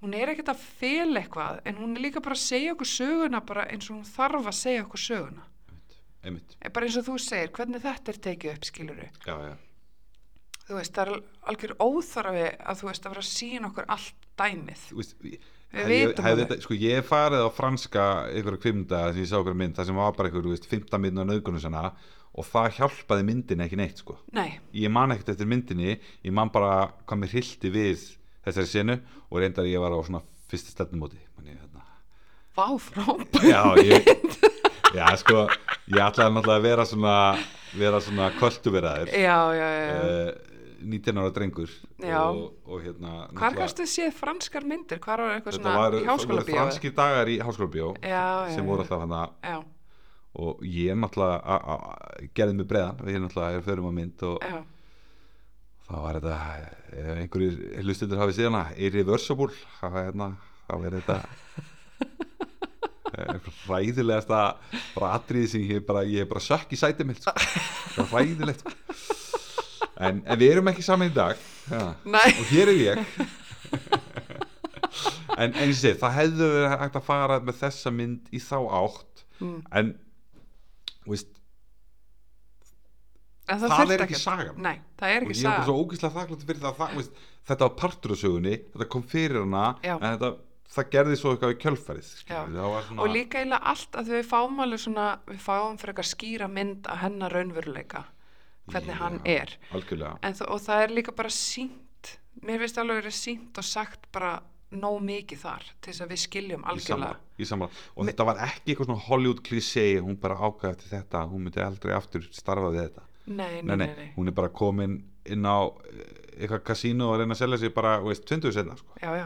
Speaker 1: Hún er ekkert að fel eitthvað, en hún er líka bara að segja okkur söguna, bara eins og hún þarf að segja okkur söguna.
Speaker 2: einmitt
Speaker 1: Eh, Bara eins og þú segir, hvernig þetta er tekið upp, skiluru.
Speaker 2: já, já,
Speaker 1: Þú veist, það er algjör óþarfi að þú veist að vera að sína okkur allt dæmið.
Speaker 2: Þú veist, ég-
Speaker 1: Við
Speaker 2: hefði-
Speaker 1: vitum
Speaker 2: hefði
Speaker 1: alveg.
Speaker 2: þetta- sko, ég hef farið á franska einhverja kvimda sem ég sá einhverja mynd, það sem var bara einhverju, veist, 15 minn á nöðgunum svona og það hjálpaði myndin ekki neitt sko.
Speaker 1: Nei,
Speaker 2: ég man ekkert eftir myndinni ég man bara hvað mér hildi við þessari senu og reyndar ég var á svona fyrsta stefnumóti Man ég, þarna.
Speaker 1: vá frábært.
Speaker 2: já, ég, já, sko ég ætlaði náttúrulega að vera svona vera svona kvölduveraður uh,
Speaker 1: Já, já, já. já.
Speaker 2: 19 ára drengur
Speaker 1: Já.
Speaker 2: og, og hérna
Speaker 1: Hvar
Speaker 2: náttúrulega-
Speaker 1: kannstu séð franskar myndir? Hvar var eitthvað
Speaker 2: þetta
Speaker 1: svona
Speaker 2: var
Speaker 1: í háskóla bíó?
Speaker 2: franski dagar í háskóla bíó
Speaker 1: Já, já,
Speaker 2: sem
Speaker 1: já.
Speaker 2: voru alltaf hann
Speaker 1: Já,
Speaker 2: og ég náttúrulega a- a- a- gerði mig breiðan við náttúrulega erum förum á mynd og
Speaker 1: já.
Speaker 2: þá var þetta, eh, ef einhverjir hlustundur hafið síðan að irreversible þá er hérna, þá er þetta eh, hræðilegasta bara atriði sem ég bara, ég bara sökk í sæti mitt sko. Það er hræðilegt sko. en, en við erum ekki saman í dag ja.
Speaker 1: Nei,
Speaker 2: og hér er ég en eins og sér, það hefðu verið hægt að fara með þessa mynd í þá átt
Speaker 1: Mm.
Speaker 2: en þú veist,
Speaker 1: en
Speaker 2: það,
Speaker 1: það þurft
Speaker 2: er ekki
Speaker 1: ekki.
Speaker 2: sagan
Speaker 1: Nei, það er
Speaker 2: og
Speaker 1: ekki
Speaker 2: ég var bara
Speaker 1: saga.
Speaker 2: svo ógæslega þakklátt fyrir það, það þú veist, þetta var partur af sögunni, þetta kom fyrir hana
Speaker 1: Já.
Speaker 2: en þetta, það gerði svo eitthvað í kjölfarið skilurðu, það var svona,
Speaker 1: Og líka eiginlega allt að við fáum alveg svona, við fáum fyrir eitthvað skýra mynd að hennar raunveruleika, hvernig
Speaker 2: Já,
Speaker 1: hann er.
Speaker 2: algjörlega,
Speaker 1: En þó, og það er líka bara sínt, mér finnst alveg verið sínt og sagt bara nóg mikið þar til þess að við skiljum
Speaker 2: í samar,
Speaker 1: algjörlega.
Speaker 2: í samar. og þetta var ekki eitthvað svona Hollywood klísei hún bara ákvæði eftir þetta, hún myndi aldrei aftur starfa við þetta,
Speaker 1: Nei,
Speaker 2: nei, nei, hún er bara komin inn á eh, eitthvað kasínu og að reyna að selja sig bara, þú veist, 20 senna sko.
Speaker 1: Já, já,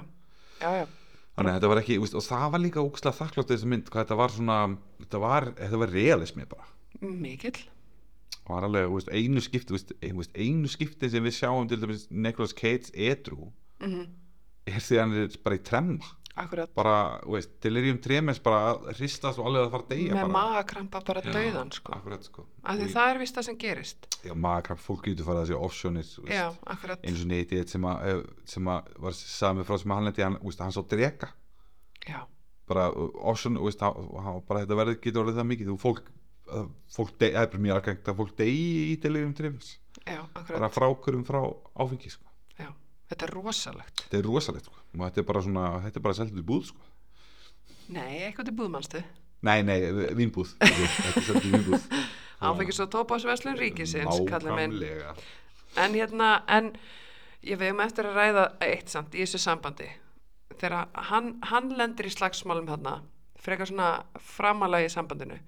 Speaker 1: já, já.
Speaker 2: þannig að þetta var ekki, þú veist, og það var líka ógæslega þakklátt þessi mynd, hvað þetta var svona þetta var, þetta var realismi bara
Speaker 1: Mikill.
Speaker 2: og hann alveg, þú veist, einu skipti þú veist, ein- þú veist, einu skipti sem við sjáum til dæmis Nicolas Cage edru
Speaker 1: Mm
Speaker 2: er því að hann er bara í tremma
Speaker 1: Akkurat.
Speaker 2: bara, þú veist, delirium tremens bara að hristast og alveg að fara að deyja
Speaker 1: Með
Speaker 2: bara.
Speaker 1: magakrampa bara dauðan, sko.
Speaker 2: akkurat, sko
Speaker 1: Af því
Speaker 2: Og í-
Speaker 1: það er vist það sem gerist.
Speaker 2: já, magakramp, fólk getur farið að segja offsjónir þú veist.
Speaker 1: Já, akkurat.
Speaker 2: eins og neitt eitt sem að eh, sem að var sami frá sem að hann lendi hann, þú veist, hann sá drega
Speaker 1: Já,
Speaker 2: bara offsjón, þú veist, hann, hann bara þetta verður getur orðið það mikið, þú fólk að fólk dey, það er bara mjög algengt að fólk deyji í delirium tremens,
Speaker 1: já, akkurat.
Speaker 2: bara frákurum frá áfengi, sko
Speaker 1: Já. Þetta er rosalegt.
Speaker 2: þetta er rosalegt sko. og þetta er bara svona, þetta er bara seldur í búð sko.
Speaker 1: Nei, eitthvað til búðmannstu.
Speaker 2: nei, nei, vínbúð þetta er seldur í vínbúð
Speaker 1: Áfengis og tópásverslun ríkisins, kallar minn.
Speaker 2: nákvæmlega
Speaker 1: En hérna, en ég vegum eftir að ræða eitt samt í þessu sambandi. Þegar hann, hann lendir í slagsmálum þarna, frekar svona framalagi í sambandinu,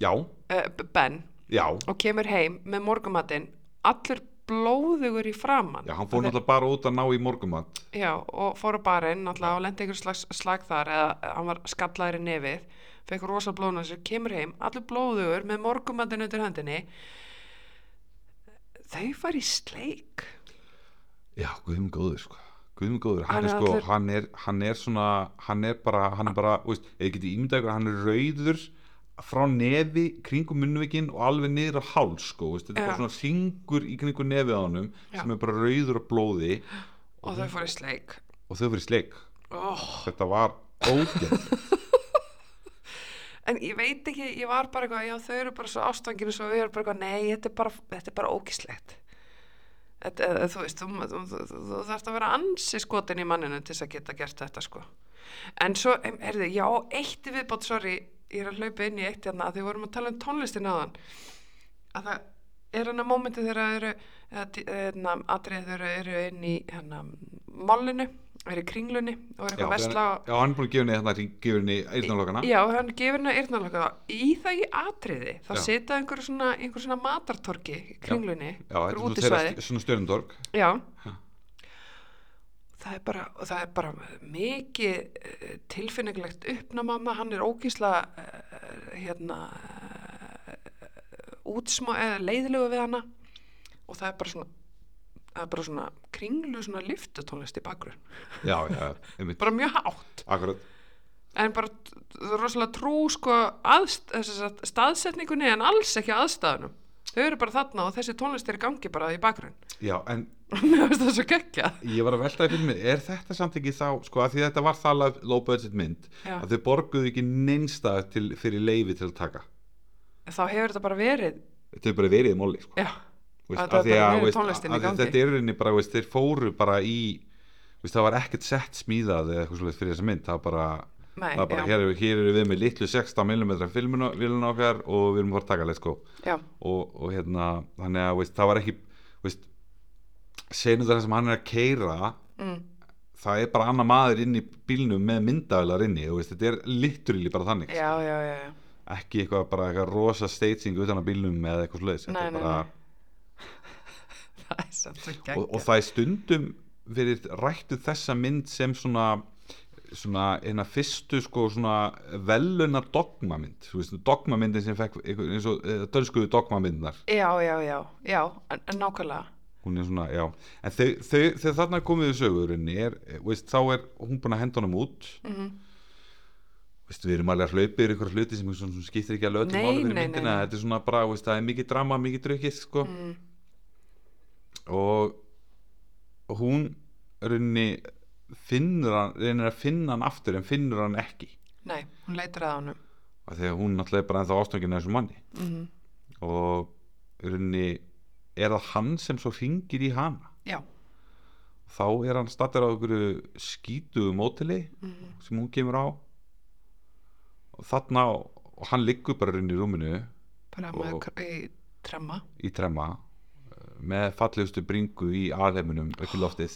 Speaker 2: já,
Speaker 1: uh, Ben,
Speaker 2: já,
Speaker 1: og kemur heim með morgumatinn, allur blóðugur í framann.
Speaker 2: já, hann fór náttúrulega bara út að ná í morgumat
Speaker 1: Já, og fór á barinn náttúrulega og lendi einhver slags slag þar eða hann var skallaður í nefið fekk rosa blóðun á sér, kemur heim allur blóðugur með morgumandinn undir höndinni þau fari í sleik
Speaker 2: já, guðum góður sko Guðum góður,
Speaker 1: Hann
Speaker 2: hann, er
Speaker 1: er
Speaker 2: sko,
Speaker 1: allur-
Speaker 2: hann er, hann er svona, hann er bara, hann er bara, þú veist, eða getið ímyndað ykkur, hann er rauður frá nefi, kringum munnvikin og alveg niður á háls, sko, þú veist, þetta er
Speaker 1: Já.
Speaker 2: bara svona hringur í kringum nefið á honum
Speaker 1: Já.
Speaker 2: sem er bara rauður á blóði
Speaker 1: og þau fari í sleik
Speaker 2: og þau fyrir sleik.
Speaker 1: oh.
Speaker 2: Þetta var ógeð.
Speaker 1: en ég veit ekki, ég var bara eitthvað já þau eru bara svo ástanginu svo við erum bara eitthvað nei, þetta er bara, þetta er bara ókislegt Þetta, eða, þú veist, þú, þú, þú, þú, þú þarft að vera ansi skotin í manninu til þess að geta gert þetta sko. en svo, em, heyrðu, já, eitt í viðbót sorry, ég er að hlaupa inn í eitt hérna að því við vorum að tala um tónlistin aðan að það er hann að mómenti þegar það eru eða tí- hérna, atrið þegar það eru inn í hérna mollinu, eru í kringlunni og eru
Speaker 2: Já,
Speaker 1: eitthvað vesla og
Speaker 2: já, hann er búin að gefa henni hérna gefa henni eyrnalokana
Speaker 1: Já, hann gefur henni eyrnalokka þá. Í það í atriði, þá
Speaker 2: Já.
Speaker 1: setja einhver svona, einhver svona matartorki í kringlunni,
Speaker 2: Já, þetta er
Speaker 1: einhver
Speaker 2: svona
Speaker 1: útisvæði.
Speaker 2: þeirra- svona stjörndorg
Speaker 1: Já.
Speaker 2: Já.
Speaker 1: Það er bara, og það er bara mikið eh, tilfinningilegt uppnámamma, hann er ógísla eh, hérna eh, útsmá, eða leiðilegu við hana og það er bara svona það er bara svona kringlu svona lyftutónlist í bakgrunn,
Speaker 2: Já, já, einmitt,
Speaker 1: bara mjög hátt
Speaker 2: akkurat
Speaker 1: en bara t- t- rosalega trú sko aðst, að, staðsetningunni en alls ekki aðstæðunum þau eru bara þarna og þessi tónlist er í gangi bara í bakgrunn
Speaker 2: Já, en
Speaker 1: mér finnst það svo gekkja
Speaker 2: ég var að veltaði fyrir mig er þetta samt ekki þá, sko, að því þetta var það la- low budget mynd,
Speaker 1: Já.
Speaker 2: að þau borguðu ekki neinstað til, fyrir leifi til að taka
Speaker 1: þá hefur þetta bara verið
Speaker 2: þau bara verið í móli, sko
Speaker 1: já,
Speaker 2: Þú
Speaker 1: Að það
Speaker 2: af því
Speaker 1: bara
Speaker 2: að,
Speaker 1: verið
Speaker 2: veist,
Speaker 1: tónlistin í
Speaker 2: af því að
Speaker 1: gangi.
Speaker 2: þetta er í rauninni bara, veist, þeir fóru bara í veist, það var ekkert sett smíðað eða eitthvað svolítið fyrir þessa mynd það var bara,
Speaker 1: nei,
Speaker 2: það var bara
Speaker 1: já,
Speaker 2: hér, eru- hér eru við með litlu 16 mm filmuna vélina okkar og við erum bara að taka let's go
Speaker 1: já,
Speaker 2: og, og hérna, þannig að veist, það var ekki veist, senum þar sem hann er að keira
Speaker 1: mm,
Speaker 2: það er bara annar maður inn í bílnum með myndavilar inni, þú veist, þetta er literally bara þannig,
Speaker 1: já, já, já, já.
Speaker 2: ekki eitthvað bara eitthvað rosa staging utan á bílnum eða eitthvað svoleiðis, þetta
Speaker 1: Nei,
Speaker 2: er
Speaker 1: nei,
Speaker 2: bara
Speaker 1: nei. það er samt svo
Speaker 2: og, og
Speaker 1: gekkja
Speaker 2: það er stundum verið rættu þessa mynd sem svona svona hérna fyrstu sko svona veluna dogmamynd þú veist, dogmamyndin sem fekk einhver- eins og eh, dönsku dogmamyndnar
Speaker 1: já, já, já, já, en- en nákvæmlega
Speaker 2: hún er svona, já en þau, þau, þegar þarna komið í sögurinni er, eh, veist, þá er hún búin að henda honum út
Speaker 1: mm
Speaker 2: veist, við erum alveg að hlaupa yfir ykkur hluti sem, sem, sem skiptir ekki alveg
Speaker 1: Nei,
Speaker 2: öllum máli
Speaker 1: nei,
Speaker 2: fyrir
Speaker 1: nei,
Speaker 2: myndina
Speaker 1: nei.
Speaker 2: þetta er svona bara, veist, það er mikið drama, mikið drukkið sko.
Speaker 1: Mm.
Speaker 2: og hún runni finnur hann, reynir að finna hann aftur en finnur hann ekki
Speaker 1: nei, hún leitur að honum
Speaker 2: af því að hún náttúrulega er bara ennþá ástöngin af þessum manni
Speaker 1: mm
Speaker 2: og runni er það hann sem svo hringir í hana
Speaker 1: já,
Speaker 2: þá er hann stattur á ykkur skítuðu mótili
Speaker 1: mm,
Speaker 2: sem hún kemur á og þarna og hann liggur bara runni í rúminu
Speaker 1: bara
Speaker 2: Og-
Speaker 1: maður kr- í tremma
Speaker 2: í tremma eh, með fallegustu bringu í alheiminum upp í loftið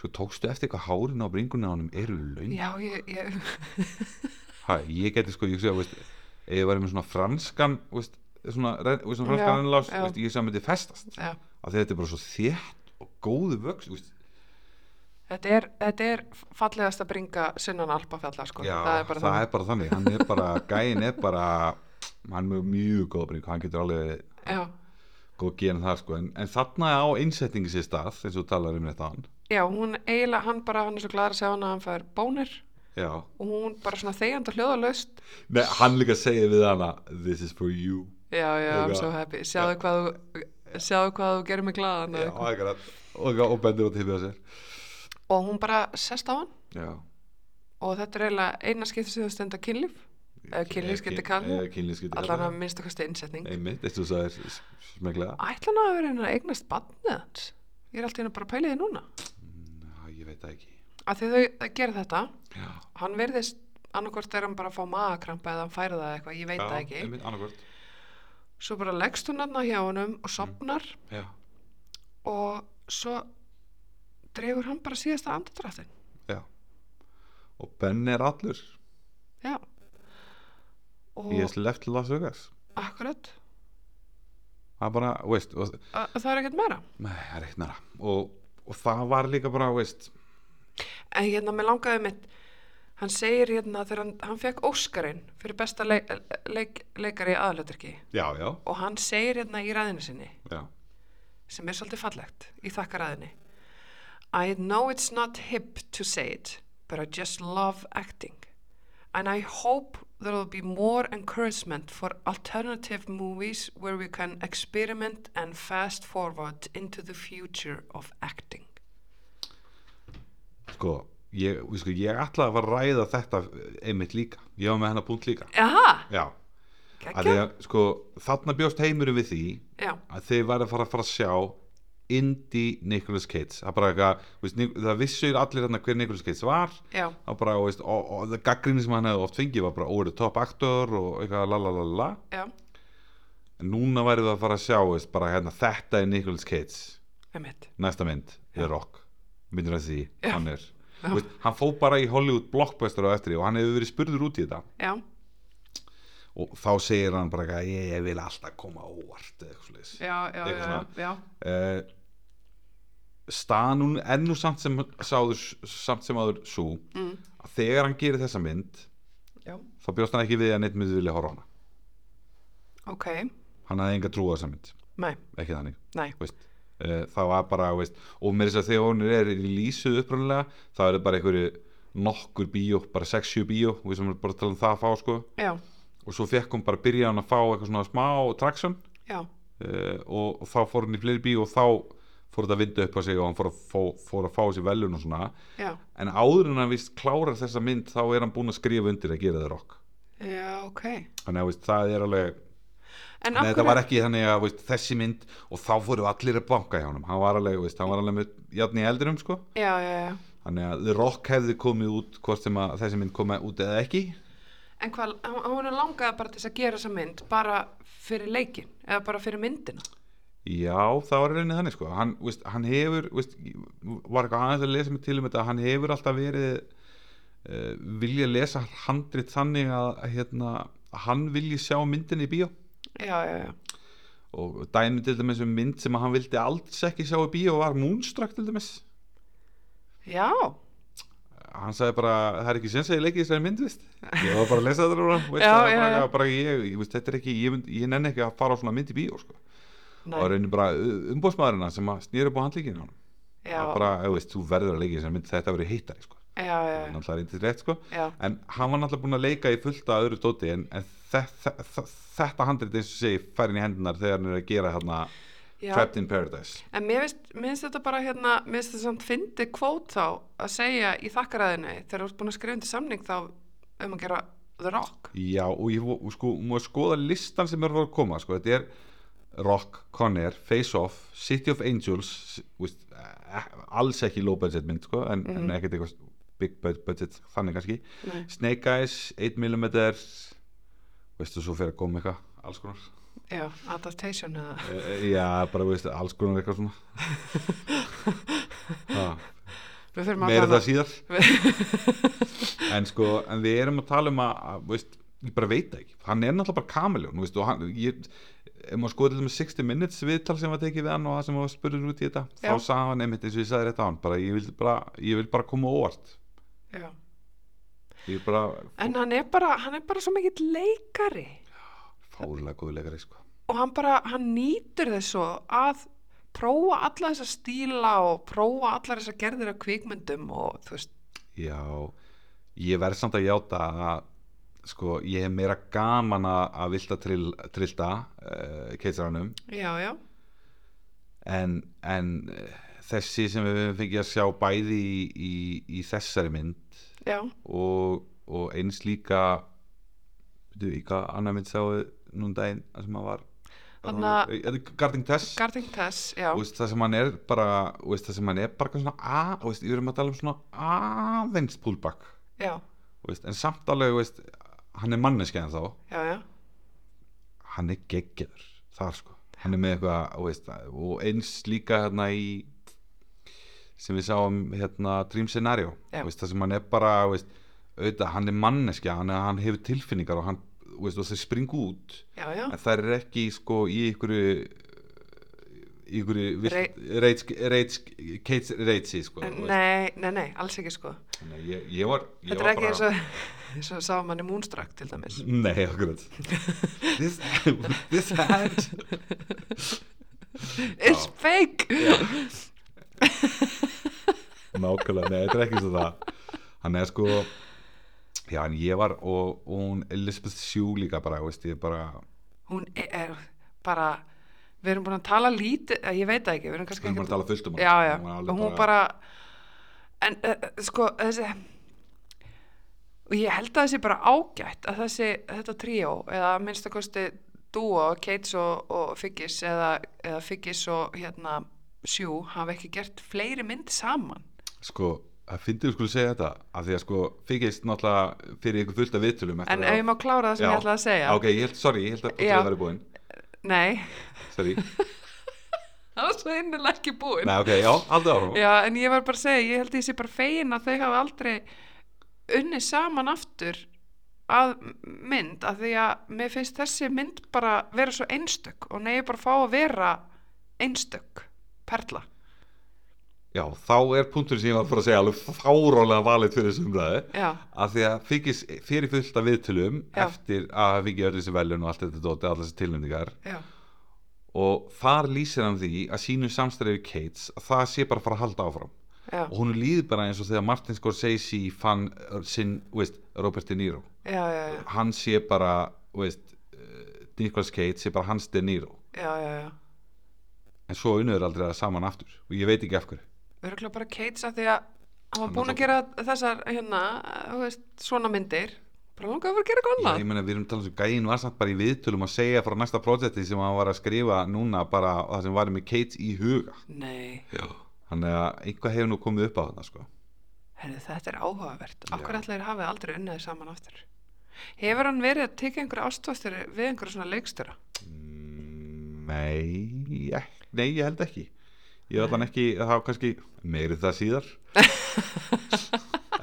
Speaker 2: sko tókstu eftir hvað hárin á bringunni á honum eru laun
Speaker 1: já, ég, ég
Speaker 2: ha, ég geti sko, ég sé að veist ef ég væri með svona franskan veist, svona, renn- veist, svona franskan
Speaker 1: Já,
Speaker 2: ennlás
Speaker 1: já.
Speaker 2: veist, ég sé að myndi festast
Speaker 1: já
Speaker 2: af því að þetta er bara svo þétt og góðu vöks veist,
Speaker 1: Þetta er, þetta er fallegast að bringa sunnan alpafjalla sko.
Speaker 2: já,
Speaker 1: það er bara það.
Speaker 2: þannig hann er bara, gæin er bara hann er með mjög góð bringu hann getur alveg verið
Speaker 1: Já,
Speaker 2: góð gen þar sko en, en þarna á innsetningi sér stað eins og þú talar um þetta hann
Speaker 1: já, hún eiginlega, hann bara, hann er svo glæður að segja hann að hann fær bónir
Speaker 2: já,
Speaker 1: og hún bara svona þegjand og hljóðalaust.
Speaker 2: Nei, hann líka segir við hana this is for you
Speaker 1: Já, já, I'm
Speaker 2: Eitthvað.
Speaker 1: so happy. Sjáðu hvað þú, sjáðu hvað þú gerir mig glaðan.
Speaker 2: já,
Speaker 1: Já,
Speaker 2: og, og, og bendur á tippið á sér
Speaker 1: og hún bara sest á hann
Speaker 2: já
Speaker 1: og þetta er eiginlega eina skipti sem þau stenda kynlíf. Eða kynlífskytti kall.
Speaker 2: kynlískyldi
Speaker 1: Allan að minnsta kosti innsetning.
Speaker 2: einmitt, eins og það er smeglega
Speaker 1: Ætla hann að vera henni að eignast badnið hans? Ég er alltaf henni bara að pæla í því núna.
Speaker 2: já, ég veit það ekki
Speaker 1: Af því þau þau gera þetta
Speaker 2: já,
Speaker 1: hann verðist annarkvort er hann bara að fá magakrampa eða hann færi það eitthvað, ég veit það ekki
Speaker 2: einmitt, annarkvort
Speaker 1: svo bara leggst hún hann hjá honum og sopnar
Speaker 2: já,
Speaker 1: og svo dregur hann bara síðasta andardrættin
Speaker 2: já og Ben er allur
Speaker 1: já og
Speaker 2: he has left Las Vegas
Speaker 1: akkurat
Speaker 2: það er bara, veist og,
Speaker 1: a- það er ekkert meira
Speaker 2: nei, það er eitt næra og, og það var líka bara, veist
Speaker 1: en hérna með langaði mitt hann segir hérna þegar hann, hann fekk Óskarinn fyrir besta leik, leik, leikari aðalöturki
Speaker 2: já, já,
Speaker 1: og hann segir hérna í ræðinu sinni
Speaker 2: já
Speaker 1: sem er svolítið fallegt í þakkaræðinni. I know it's not hip to say it, but I just love acting. And I hope there will be more encouragement for alternative movies where we can experiment and fast forward into the future of acting.
Speaker 2: sko, ég, við sko, ég ætlaði að fara að ræða þetta einmitt líka ég var með hennar punkt líka
Speaker 1: Jaha,
Speaker 2: já, að því
Speaker 1: gekkja?
Speaker 2: að, sko, þarna bjóst heimurum við því
Speaker 1: Já,
Speaker 2: að þeir væri að fara að fara að sjá indie Nicolas Cage það, bara, eitthvað, þú veist, Nic- það vissu allir þarna hver Nicolas Cage var
Speaker 1: já,
Speaker 2: það bara, þú veist, og, og það gaggrinni sem hann hefði oft fengið var bara óri top actor og eitthvað la la la la
Speaker 1: já,
Speaker 2: en núna værið það að fara að sjá þú veist, bara, hérna, þetta er Nicolas Cage
Speaker 1: emitt
Speaker 2: næsta mynd, The Rock myndir að því,
Speaker 1: Já.
Speaker 2: hann er Þú veist, hann fó bara í Hollywood blockbuster á eftir því og hann hefur verið spurður út í þetta
Speaker 1: já,
Speaker 2: og þá segir hann bara eitthvað ég, ég vil alltaf koma á óvart eða eitthvað svoleiðis.
Speaker 1: já, já, já,
Speaker 2: Eitthvað
Speaker 1: já,
Speaker 2: svona.
Speaker 1: já.
Speaker 2: Eh, staðan hún er nú samt sem, sáður, samt sem áður svo
Speaker 1: Mm.
Speaker 2: að þegar hann gerir þessa mynd
Speaker 1: já.
Speaker 2: þá bjóst hann ekki við að neitt myndi vilja horfa á hana
Speaker 1: ok,
Speaker 2: hann hafði enga trú á þessa mynd,
Speaker 1: nei,
Speaker 2: ekki þannig
Speaker 1: nei
Speaker 2: þú veist, uh, það var bara þú veist, og mér þess að þegar hún er í lýsu upprunalega þá eru bara einhverju nokkur bíó, bara 6-7 bíó við sem erum bara að tala um það að fá sko
Speaker 1: já,
Speaker 2: og svo fekk hún bara að byrja hann að fá eitthvað svona smá traction
Speaker 1: já,
Speaker 2: uh, og, og þá fór hann í fleiri bíó og þá fór þetta að vinda upp á sig og hann fór að, fó, fór að fá sér velun og svona
Speaker 1: já
Speaker 2: en áður en hann vist klárar þessa mynd þá er hann búinn að skrifa undir að gera það rock
Speaker 1: já, ok
Speaker 2: þannig að þú veist, það er alveg
Speaker 1: en
Speaker 2: Nei,
Speaker 1: af
Speaker 2: þetta var
Speaker 1: hverju,
Speaker 2: ekki þannig að veist, þessi mynd og þá fóru allir að banka hjá honum hann var alveg, veist, hann var alveg með járn í eldinum sko.
Speaker 1: já, já, já
Speaker 2: þannig að The Rock hefði komið út hvort sem að þessi mynd komið út eða ekki
Speaker 1: En hvað, hún- hún langaði bara til þess að gera þessa mynd bara fyrir leikin eða bara fyrir myndina
Speaker 2: já, það var í rauninni þannig sko. hann, veist, hann hefur veist, var eitthvað aðeins að lesa mig til um þetta hann hefur alltaf verið uh, vilja lesa handrit þannig að hérna, hann vilji sjá myndinni í bíó
Speaker 1: Já, já, já,
Speaker 2: og dæmi til dæmis um mynd sem að hann vildi alls ekki sjá í bíó var Moonstruck til dæmis
Speaker 1: já,
Speaker 2: hann sagði bara, það er ekki sens að ég leiki í þessari mynd, veist ég var bara að lesa þetta núna veist,
Speaker 1: Já,
Speaker 2: það er
Speaker 1: já,
Speaker 2: bara,
Speaker 1: já.
Speaker 2: bara ég, ég, veist, þetta er ekki, ég, mynd, ég nenni ekki að fara á svona mynd í bíó, sko
Speaker 1: næ,
Speaker 2: og raunin bara umbóðsmaðurina sem að snýra upp á handlíkinu hann
Speaker 1: já,
Speaker 2: bara, þú veist, þú verður að leika í þessari mynd þetta verður hittari, sko
Speaker 1: já, já, já,
Speaker 2: náttúrulega reyndist rétt, sko
Speaker 1: já,
Speaker 2: en hann var náttúrulega búin að leika í fullta öðru dóti en, en þe þe þe þetta handrit eins og segi færin í hendunar þegar hann er að gera hérna
Speaker 1: já.
Speaker 2: Trapped in Paradise
Speaker 1: En mér finnst, mér finnst þetta bara hérna, mér finnst þetta samt fyndi kvót þá að segja í þakkaræðinu þegar þú ert búin að skrifa undir samning þá um að gera The Rock.
Speaker 2: Já, og ég vo- og sko, múið skoða listan sem er að fara að koma, sko, þetta er Rock, Conner, Face Off, City of Angels, s- þú veist, eh, alls ekki low budget mynd, sko, en, en ekkert eitthvað big bud- budget, þannig kannski,
Speaker 1: Nei.
Speaker 2: Snake Eyes, 8mm, veistu, svo fyrir að koma eitthvað, alls konar,
Speaker 1: Já, adaptation eða,
Speaker 2: Eh, eh, já, bara, veistu, alls konar eitthvað svona, ha,
Speaker 1: við þurfum að
Speaker 2: meira það síðar,
Speaker 1: það.
Speaker 2: en sko, en við erum að tala um að, að veist, ég bara veit það ekki hann er náttúrulega bara kameljón, veist, og hann ég, ef maður skoði þetta með 60 minutes viðtal sem var tekið við hann og það sem var spurður út í þetta
Speaker 1: Já.
Speaker 2: þá sagði hann einmitt eins og ég sagði rétt á hann bara, ég, vil bara, ég vil bara koma á óvart
Speaker 1: já.
Speaker 2: ég er bara
Speaker 1: En hann er bara, hann er bara svo mikill leikari
Speaker 2: fárlega góðleikari sko.
Speaker 1: og hann bara, hann nýtur þess svo að prófa alla þessa stíla og prófa allar þessa gerðir af kvikmyndum og þú veist,
Speaker 2: já, ég verð samt að játa að sko, ég hef meira gaman að, að vilta trill, trillta uh, keisaranum
Speaker 1: já, já,
Speaker 2: en, en eh, þessi sem við höfum fengið að sjá bæði í, í, í þessari mynd
Speaker 1: já,
Speaker 2: og, og eins líka veitu, í hvað annar mynd sáu núna um daginn þar sem hann var
Speaker 1: Þarna-
Speaker 2: Eh, Garding Tess
Speaker 1: Garting Tess, já,
Speaker 2: þú veist, það sem hann er bara þú veist, það sem hann er bara eitthvað svona að, þú veist, við erum að tala um svona aðeins pullback
Speaker 1: já,
Speaker 2: þú veist, en samt alveg þú veist, hann er manneskja en þá
Speaker 1: já, já,
Speaker 2: hann er geggjaður þar sko hann er með eitthvað þú veist, og eins líka hérna í sem við sáum hérna Dream Scenario
Speaker 1: Já.
Speaker 2: Þú veist, það sem hann er bara þú veist, auðvitað, hann er manneskja, hann, hann hefur tilfinningar og hann þú veist, og þeir springu út
Speaker 1: já, já,
Speaker 2: en það er ekki sko í ykkur í ykkur
Speaker 1: Rei-
Speaker 2: reitsi sko þú veist.
Speaker 1: Nei, nei, nei, alls ekki sko
Speaker 2: Þannig að ég, ég var ég
Speaker 1: Þetta er
Speaker 2: var
Speaker 1: ekki eins og eins og sá manni Moonstruck til dæmis
Speaker 2: Nei, akkurat This, this hand
Speaker 1: It's fake
Speaker 2: Nákvæmlega, nei, þetta er ekki svo það Hann er sko Já, en ég var og, og hún Elizabeth Shue líka bara, veist ég bara
Speaker 1: Hún er- er bara Við erum búin að tala lítið eh, Ég veit það ekki, við erum
Speaker 2: Við
Speaker 1: kannski
Speaker 2: erum bara að
Speaker 1: ekki
Speaker 2: tala fullt um hann
Speaker 1: Já, já,
Speaker 2: Hún var
Speaker 1: og
Speaker 2: alveg
Speaker 1: hún bara En uh, sko þessi Og ég held að þessi bara ágætt að þessi, þetta tríó eða að minnsta kosti dúo, Kates og, og Figgis eða, eða Figgis og hérna Sjú hafa ekki gert fleiri mynd saman
Speaker 2: sko, það fyndið við skulle segja þetta af því að sko, þykist náttúrulega fyrir ykkur fullt af viðtölum eftir
Speaker 1: En
Speaker 2: að-
Speaker 1: ef ég má klára það sem
Speaker 2: Já.
Speaker 1: ég ætlaði að segja
Speaker 2: ok, ég held, sorry, ég held að
Speaker 1: Já.
Speaker 2: það væri búin
Speaker 1: Nei,
Speaker 2: sorry,
Speaker 1: það var svo innilega ekki búin
Speaker 2: nei, ok, já, aldrei árum
Speaker 1: Já, en ég var bara að segja, ég held ég sé bara fegin að þau hafa aldrei unni saman aftur að mynd, að því að mér finnst þessi mynd bara vera svo einstök og neyju bara að fá að vera einstök, perla
Speaker 2: já, þá er punktur sem ég var að fara að segja alveg fárólega valið fyrir þessum umræðu
Speaker 1: Já,
Speaker 2: af því að þykist fyrir fullt af viðtölum
Speaker 1: Já.
Speaker 2: eftir að hafa fengið öll þessi velun og allt þetta dóti, allar þessi tilnefningar
Speaker 1: já,
Speaker 2: og þar lýsir hann því að sínu samstæriði Kates að það sé bara að fara að halda áfram
Speaker 1: já,
Speaker 2: og hún líður bara eins og þegar Martin Scorsese fann uh, sinn, veist, Robert De Niro
Speaker 1: já, já, já,
Speaker 2: hann sé bara, veist uh, Nicolas Cage sé bara hans De Niro
Speaker 1: já, já, já.
Speaker 2: en svo unnur aldrei það saman aftur og ég veit ekki af hverju
Speaker 1: Örgulega bara Kates að því að hann var
Speaker 2: Hann
Speaker 1: búin að gera þessar hérna, þú veist, svona myndir bara langaði að fara að gera
Speaker 2: Já,
Speaker 1: góðan
Speaker 2: ég meina við erum talað um gæin var samt bara í viðtölum að segja frá næsta projekti sem hann var að skrifa núna bara það sem var með Kate í huga
Speaker 1: Nei,
Speaker 2: Já. þannig að einhvað hefur nú komið upp á þarna sko.
Speaker 1: herri, þetta er áhugavert
Speaker 2: Já.
Speaker 1: Akkur ætlaðir hafið aldrei unnið saman aftur Hefur hann verið að tekja einhverja ástóðstur við einhverja svona leikstöra?
Speaker 2: Mm, Nei, ég, nei, ég held ekki Ég hef allan ekki, það var kannski meiri það síðar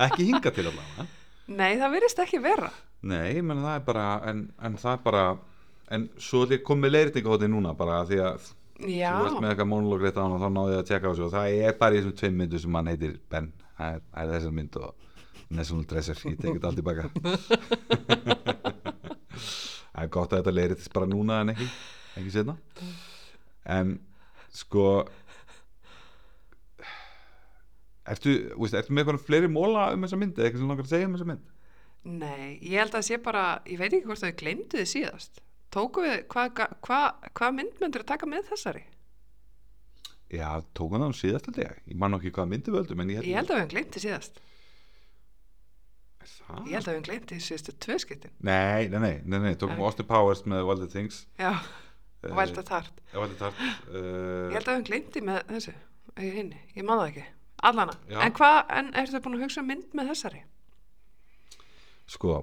Speaker 2: Ekki hinga til allavega
Speaker 1: Nei, það virðist ekki vera
Speaker 2: Nei, menn það er bara en, en það er bara En svo ætlum ég kom með leiritingahóti núna bara af því að
Speaker 1: Já,
Speaker 2: þú varst með eitthvað monolog rétt á hann og þá náði ég að tjekka á þessu og það er bara í þessum tveim myndu sem hann heitir Ben Það er, það er þessar mynd og National Dresser, ég tekið þetta allt í baka Það er gott að þetta leiritist bara núna en ekki, ekki setna En sko Ertu, veist, ertu með eitthvað fleiri móla um þessa mynd eða eitthvað sem þú langar að segja um þessa mynd?
Speaker 1: nei, ég held að sé bara ég veit ekki hvort þau gleymdu þið síðast Tóku við, hvað hva, hva, hva mynd myndir að taka með þessari?
Speaker 2: Já, tók hann það um síðast held ég Ég man nú ekki hvað myndi við höldum en ég held,
Speaker 1: Ég held að við höfum gleymt þið síðast
Speaker 2: Er það?
Speaker 1: Ég held að við höfum gleymt þið síðastu tvö skiptin
Speaker 2: Nei, nei, nei, nei, nei, tókum
Speaker 1: Nei.
Speaker 2: Austin Powers með Wilded Things
Speaker 1: Já,
Speaker 2: eh,
Speaker 1: og velta þart
Speaker 2: eh, Wild at Heart
Speaker 1: Ég
Speaker 2: uh,
Speaker 1: held að við gleymdi með þessu í hinni, ég man það ekki, allana
Speaker 2: Já.
Speaker 1: En hvað, en ertu búin að hugsa um mynd með þessari?
Speaker 2: Sko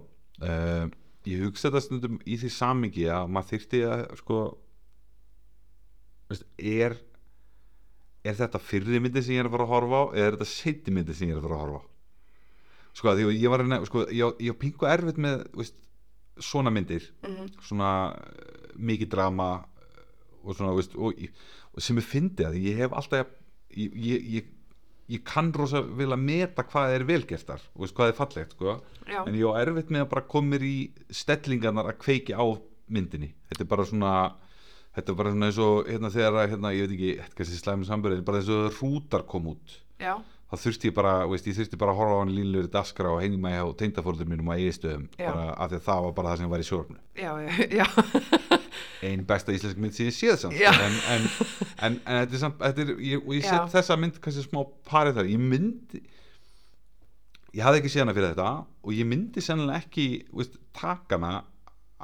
Speaker 2: uh, Ég hugsa þetta stundum í því samingi að maður þyrfti að sko veist, er er þetta fyrri myndi sem ég er að fara að horfa á eða er þetta seinni myndi sem ég er að fara að horfa á Sko, því að ég var að nefna sko, ég, ég á pingu erfitt með veist, svona myndir svona uh, mikið drama uh, og svona, veist, og, og sem ég fyndi að ég hef alltaf ég, ég, ég, ég kann rosa vel að meta hvað er velgertar og veist, hvað er fallegt sko.
Speaker 1: Já,
Speaker 2: en ég á erfitt með að bara koma mér í stellingarnar að kveiki á myndinni þetta er bara svona þetta er bara svona eins og hérna þegar að, hérna, ég veit ekki, þetta er kannski slæmi sambörðin bara eins og rútar kom út
Speaker 1: já,
Speaker 2: þá þurfti ég bara, veist, ég þurfti bara að horfa á hann línlegur daskra og heimma hjá tengdafórður mínum að eigistöðum,
Speaker 1: Já.
Speaker 2: bara af því að það var bara það sem var í sjórnu
Speaker 1: já, já, já,
Speaker 2: ein besta íslensk mynd sem ég séð samt
Speaker 1: Já.
Speaker 2: en, en, en, en þetta er samt þetta er, ég, og ég
Speaker 1: Já.
Speaker 2: set þessa mynd kannski smá parið þar ég myndi ég hafði ekki séð hana fyrir þetta og ég myndi sennilega ekki veist, taka hana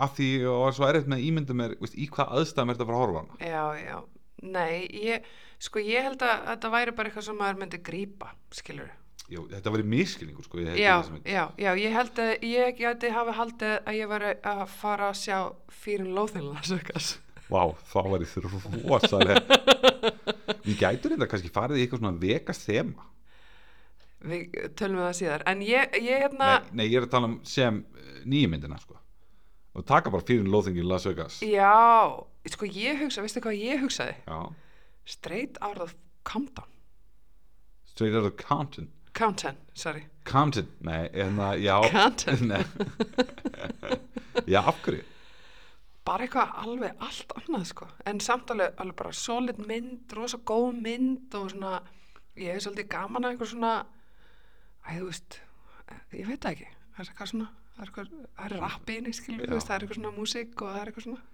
Speaker 2: af því ég var svo erfitt með að ímynda mér veist, í hvað aðstæðum er þetta að fara að horfa á hana
Speaker 1: já, já. Nei, ég, sko ég held að þetta væri bara eitthvað sem maður myndi grípa, skilur
Speaker 2: Jú, þetta var í miskilningur sko, ég,
Speaker 1: Já, já, já, ég held að ég gæti hafa haldið að ég var að fara að sjá fyrir lóðinlega sökast
Speaker 2: Vá, þá var ég rosalega Við gætur þetta kannski farið í eitthvað svona vegas þema
Speaker 1: Við tölum við það síðar, en ég, ég hérna
Speaker 2: nei, nei, ég er að tala um sem nýjumyndina sko. og taka bara fyrir lóðingin Las Vegas
Speaker 1: Já, sko ég hugsa, veistu hvað ég hugsaði?
Speaker 2: Já,
Speaker 1: Straight out of Compton
Speaker 2: straight out of Compton
Speaker 1: Compton, sorry
Speaker 2: Compton, nei, en það, já
Speaker 1: Compton.
Speaker 2: Nei. Já, af hverju?
Speaker 1: bara eitthvað alveg allt annað sko en samt alveg, alveg bara solid mynd rosa góð mynd og svona ég hef svolítið gaman að eitthvað svona æ, þú veist ég veit það ekki, það er eitthvað svona það er, eitthvað, það er rappinni, skilur,
Speaker 2: Já.
Speaker 1: þú veist, það er eitthvað svona músík og það er eitthvað svona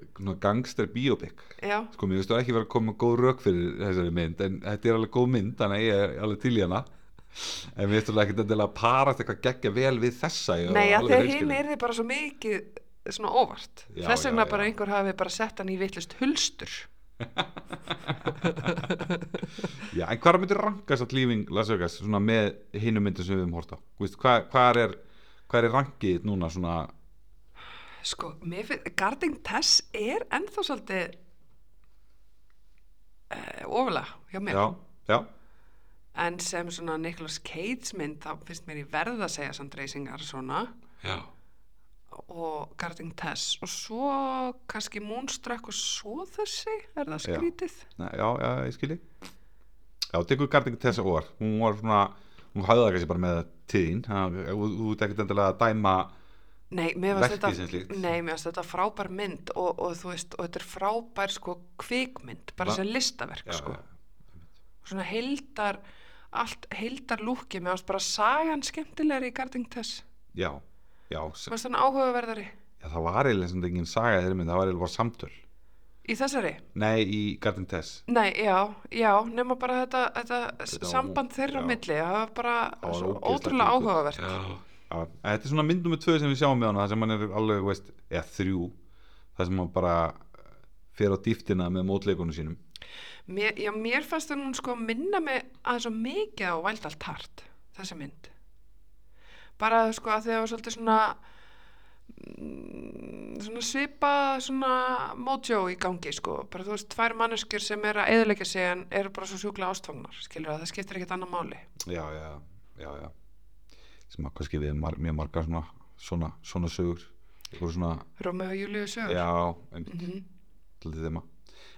Speaker 2: Svona gangster biopic
Speaker 1: já,
Speaker 2: Sko, mér veistu ekki verið að koma með góð rök fyrir þessari mynd En þetta er alveg góð mynd, þannig að ég er alveg til í hana En mér veistu ekki þetta að parast eitthvað geggja vel við þessa ég er
Speaker 1: nei,
Speaker 2: alveg
Speaker 1: að þegar
Speaker 2: hreinskilinn.
Speaker 1: hinn er þið bara svo mikið svona óvart
Speaker 2: Já,
Speaker 1: þess
Speaker 2: já,
Speaker 1: vegna
Speaker 2: já.
Speaker 1: bara einhver hafi bara sett hann í vitlust hulstur
Speaker 2: Já, en hvað myndir rankast að lífing Las Vegas svona með hinum myndir sem við höfum hórt á? Þú Veist, hvað, hvað, er, hvað er rankið núna svona
Speaker 1: Sko, mér finn, Garden Tess er ennþá svolítið uh, ofalega hjá mér.
Speaker 2: Já, já,
Speaker 1: En sem svona Nicolas Cage mynd, þá finnst mér ég verð að segja samt reysingar svona
Speaker 2: já
Speaker 1: og Garden Tess. Og svo kannski Moonstruck og svo þessi, er það
Speaker 2: Já.
Speaker 1: skrítið?
Speaker 2: Nei, já, já, ég skilji Já, tekur Garding Tessa óvar Hún var svona, hún hafði það kannski bara með tíðin Það- Þú þú ert ekkert endilega að dæma
Speaker 1: Nei, mér varst
Speaker 2: Verkið sem slíkt.
Speaker 1: þetta, nei, mér varst þetta frábær mynd og, og þú veist, og þetta er frábær sko kvikmynd, bara
Speaker 2: Va-
Speaker 1: sem listaverk
Speaker 2: já,
Speaker 1: sko.
Speaker 2: já.
Speaker 1: Svona heildar, allt heildar lúkið, mér varst bara sagan skemmtilegri í Garden Tess.
Speaker 2: Já, já, s-
Speaker 1: Mér varst þannig áhugaverðari
Speaker 2: já, það var eiginlega sem þetta engin saga í þeirri mynd, það var eiginlega bara samtöl
Speaker 1: í þessari.
Speaker 2: Nei, í Garding Tess
Speaker 1: Nei, já, já, nema bara þetta, þetta,
Speaker 2: Þetta var-
Speaker 1: samband þeirra á
Speaker 2: já.
Speaker 1: milli, það var bara
Speaker 2: Það var
Speaker 1: svo
Speaker 2: ógeðslega
Speaker 1: ótrúlega
Speaker 2: fínt.
Speaker 1: áhugavert.
Speaker 2: Já, en þetta er svona mynd nummið tvö sem við sjáum með hana það sem hann er alveg, veist, eða þrjú það sem hann bara eh, fer á dýftina með mótleikunum sínum
Speaker 1: Mér, já, mér fannst hún sko minna mig aðeins og mikið á vældalt hart, þessi mynd. Bara sko að það var svolítið svona, mm, svona svipa, svona mótjó í gangi sko. Bara þú veist, tvær manneskjur sem er að eðilegja sig en eru bara svo sjúklega ástfangnar, skilur það, það skiptir ekkert annað máli.
Speaker 2: já, já, já, já sem að kannski við mar mjög margar svona svona, svona sögur eitthvað svona,
Speaker 1: Rómið og Júliu sögur.
Speaker 2: já, einmitt mm
Speaker 1: Mhm.
Speaker 2: -hmm.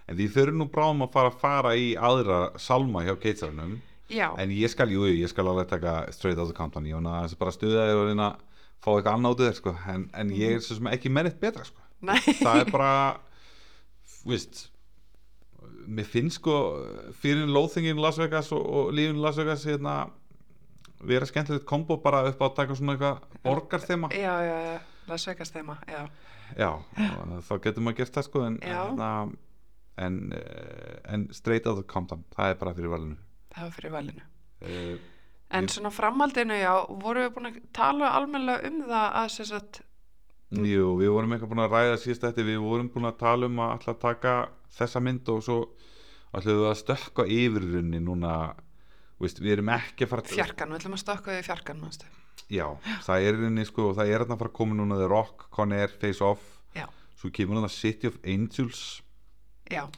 Speaker 2: en því þau eru nú bráðum að fara að fara í aðra salma hjá keitsarinnum
Speaker 1: já.
Speaker 2: en ég skal, jú, jú, ég skal alveg taka straight out of Compton, ég vona að bara stuða þér og reyna að fá eitthvað annað út af þér sko. en, en ég er svo sem ekki mennitt betra sko.
Speaker 1: Mhm. Nei.
Speaker 2: það er bara þú veist mér finnst sko fyrir lóþingin Las Vegas og, og lífin Las Vegas hérna, vera skemmtilegt kombo bara upp á að taka svona eitthvað borgarþema
Speaker 1: já, já, já, Las Vegas þema, já.
Speaker 2: já, og þá getur maður gert það sko en,
Speaker 1: Já.
Speaker 2: en, en, en, eh, en straight out of Compton það er bara fyrir valinu
Speaker 1: Það var fyrir valinu.
Speaker 2: uh,
Speaker 1: En svona framhaldinu, já, voru við búin að tala almennilega um það að sem sagt,
Speaker 2: Jú, við vorum eitthvað búin að ræða síðast eftir, við vorum búin að tala um að alltaf taka þessa mynd og svo ætlum við að stökka yfir runni núna, veist, við erum ekki að fara að-
Speaker 1: fjarkan, við ætlum að stökka við fjarkan, mannstu.
Speaker 2: Já, það er runni sko, það er þarna að fara að koma núna The Rock, Con Air, Face Off,
Speaker 1: Já,
Speaker 2: svo kemur þarna City of Angels
Speaker 1: já,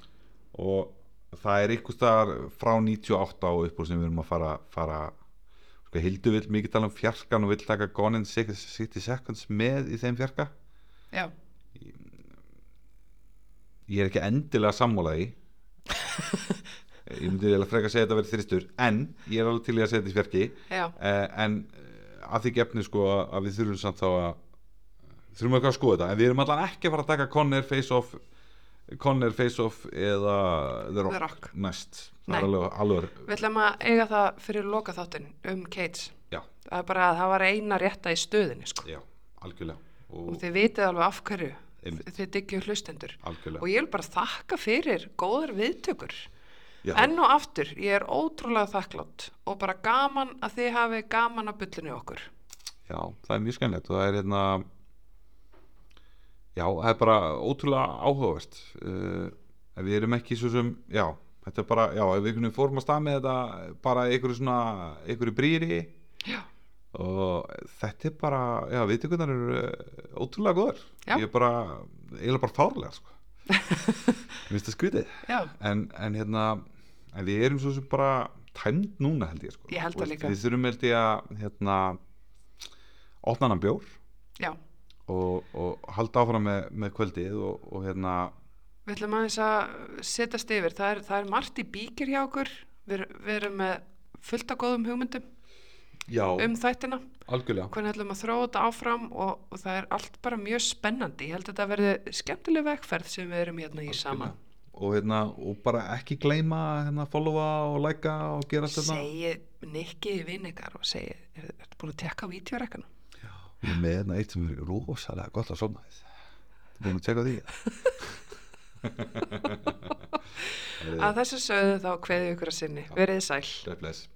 Speaker 2: og það er einhvers staðar frá 98 á upp úr sem við erum að fara, fara sko, Hildur vill mikið tala um fjarkan og vill taka Gone in 60 Seconds með í þeim fjarka.
Speaker 1: já.
Speaker 2: ég er ekki endilega sammála því ég myndi eiginlega frekar að segja þetta að vera þristur en ég er alveg til í að segja þetta í fjarki
Speaker 1: Já,
Speaker 2: uh, en eh, að því gefni sko að að við þurfum samt þá að þurfum eitthvað að skoða þetta en við erum allan ekki að fara að taka Conner Face Off Conner Face Off eða The Rock,
Speaker 1: The Rock.
Speaker 2: næst
Speaker 1: Nei.
Speaker 2: það er alveg, alveg
Speaker 1: við ætlum að eiga það fyrir loka þáttin um Cates.
Speaker 2: já,
Speaker 1: Það er bara að það var eina rétta í stöðinni, sko.
Speaker 2: já, algjörlega
Speaker 1: Og
Speaker 2: og
Speaker 1: þið vitið alveg af hverju,
Speaker 2: Einmitt.
Speaker 1: þið diggjum hlustendur. Og
Speaker 2: algjörlega
Speaker 1: ég vil bara þakka fyrir góðar viðtökur.
Speaker 2: já,
Speaker 1: Enn og aftur, ég er ótrúlega þakklátt og bara gaman að þið hafi gaman að bullinu okkur.
Speaker 2: já, það er mjög skemmilegt og það er hérna já, það er bara ótrúlega áhugavert uh, ef við erum ekki svo sem, já, þetta er bara já, ef við einhvern veginn fórum að stað með þetta bara einhverju svona, einhverju brýri
Speaker 1: Já.
Speaker 2: og þetta er bara, já, viðtökunar eru eh, ótrúlega góður,
Speaker 1: Já.
Speaker 2: ég er bara eiginlega bara fárlega, sko Mér finnst það skrítið,
Speaker 1: Já.
Speaker 2: en, en hérna en við erum svo sem bara tæmd núna held ég, sko
Speaker 1: Ég held það
Speaker 2: Þú veist,
Speaker 1: líka.
Speaker 2: Við þurfum held ég að, hérna opna hann bjór
Speaker 1: Já,
Speaker 2: og, og halda áfram með, með kvöldið og, og hérna
Speaker 1: við ætlum aðeins að setjast yfir. Það er, það er margt í bíkir hjá okkur. Við, er- við erum með fullt af góðum hugmyndum
Speaker 2: Já,
Speaker 1: um þættina.
Speaker 2: algjörlega
Speaker 1: Hvernig ætlum að þróa þetta áfram og, og það er allt bara mjög spennandi. Ég held að þetta verði skemmtileg vegferð sem við erum hérna í saman.
Speaker 2: og, hérna, og bara ekki gleyma að, hérna, followa og likea og gera allt þetta
Speaker 1: Segið Nikki vinn ykkar og segið, er þetta búin að tekka vítjórekkana?
Speaker 2: Ég er með hérna eitt sem er rosalega gott að sofna við Þú búin að tjekka á því
Speaker 1: Að þessu sögðu þá kveðið ykkur að sinni. Verið þið sæl.
Speaker 2: God bless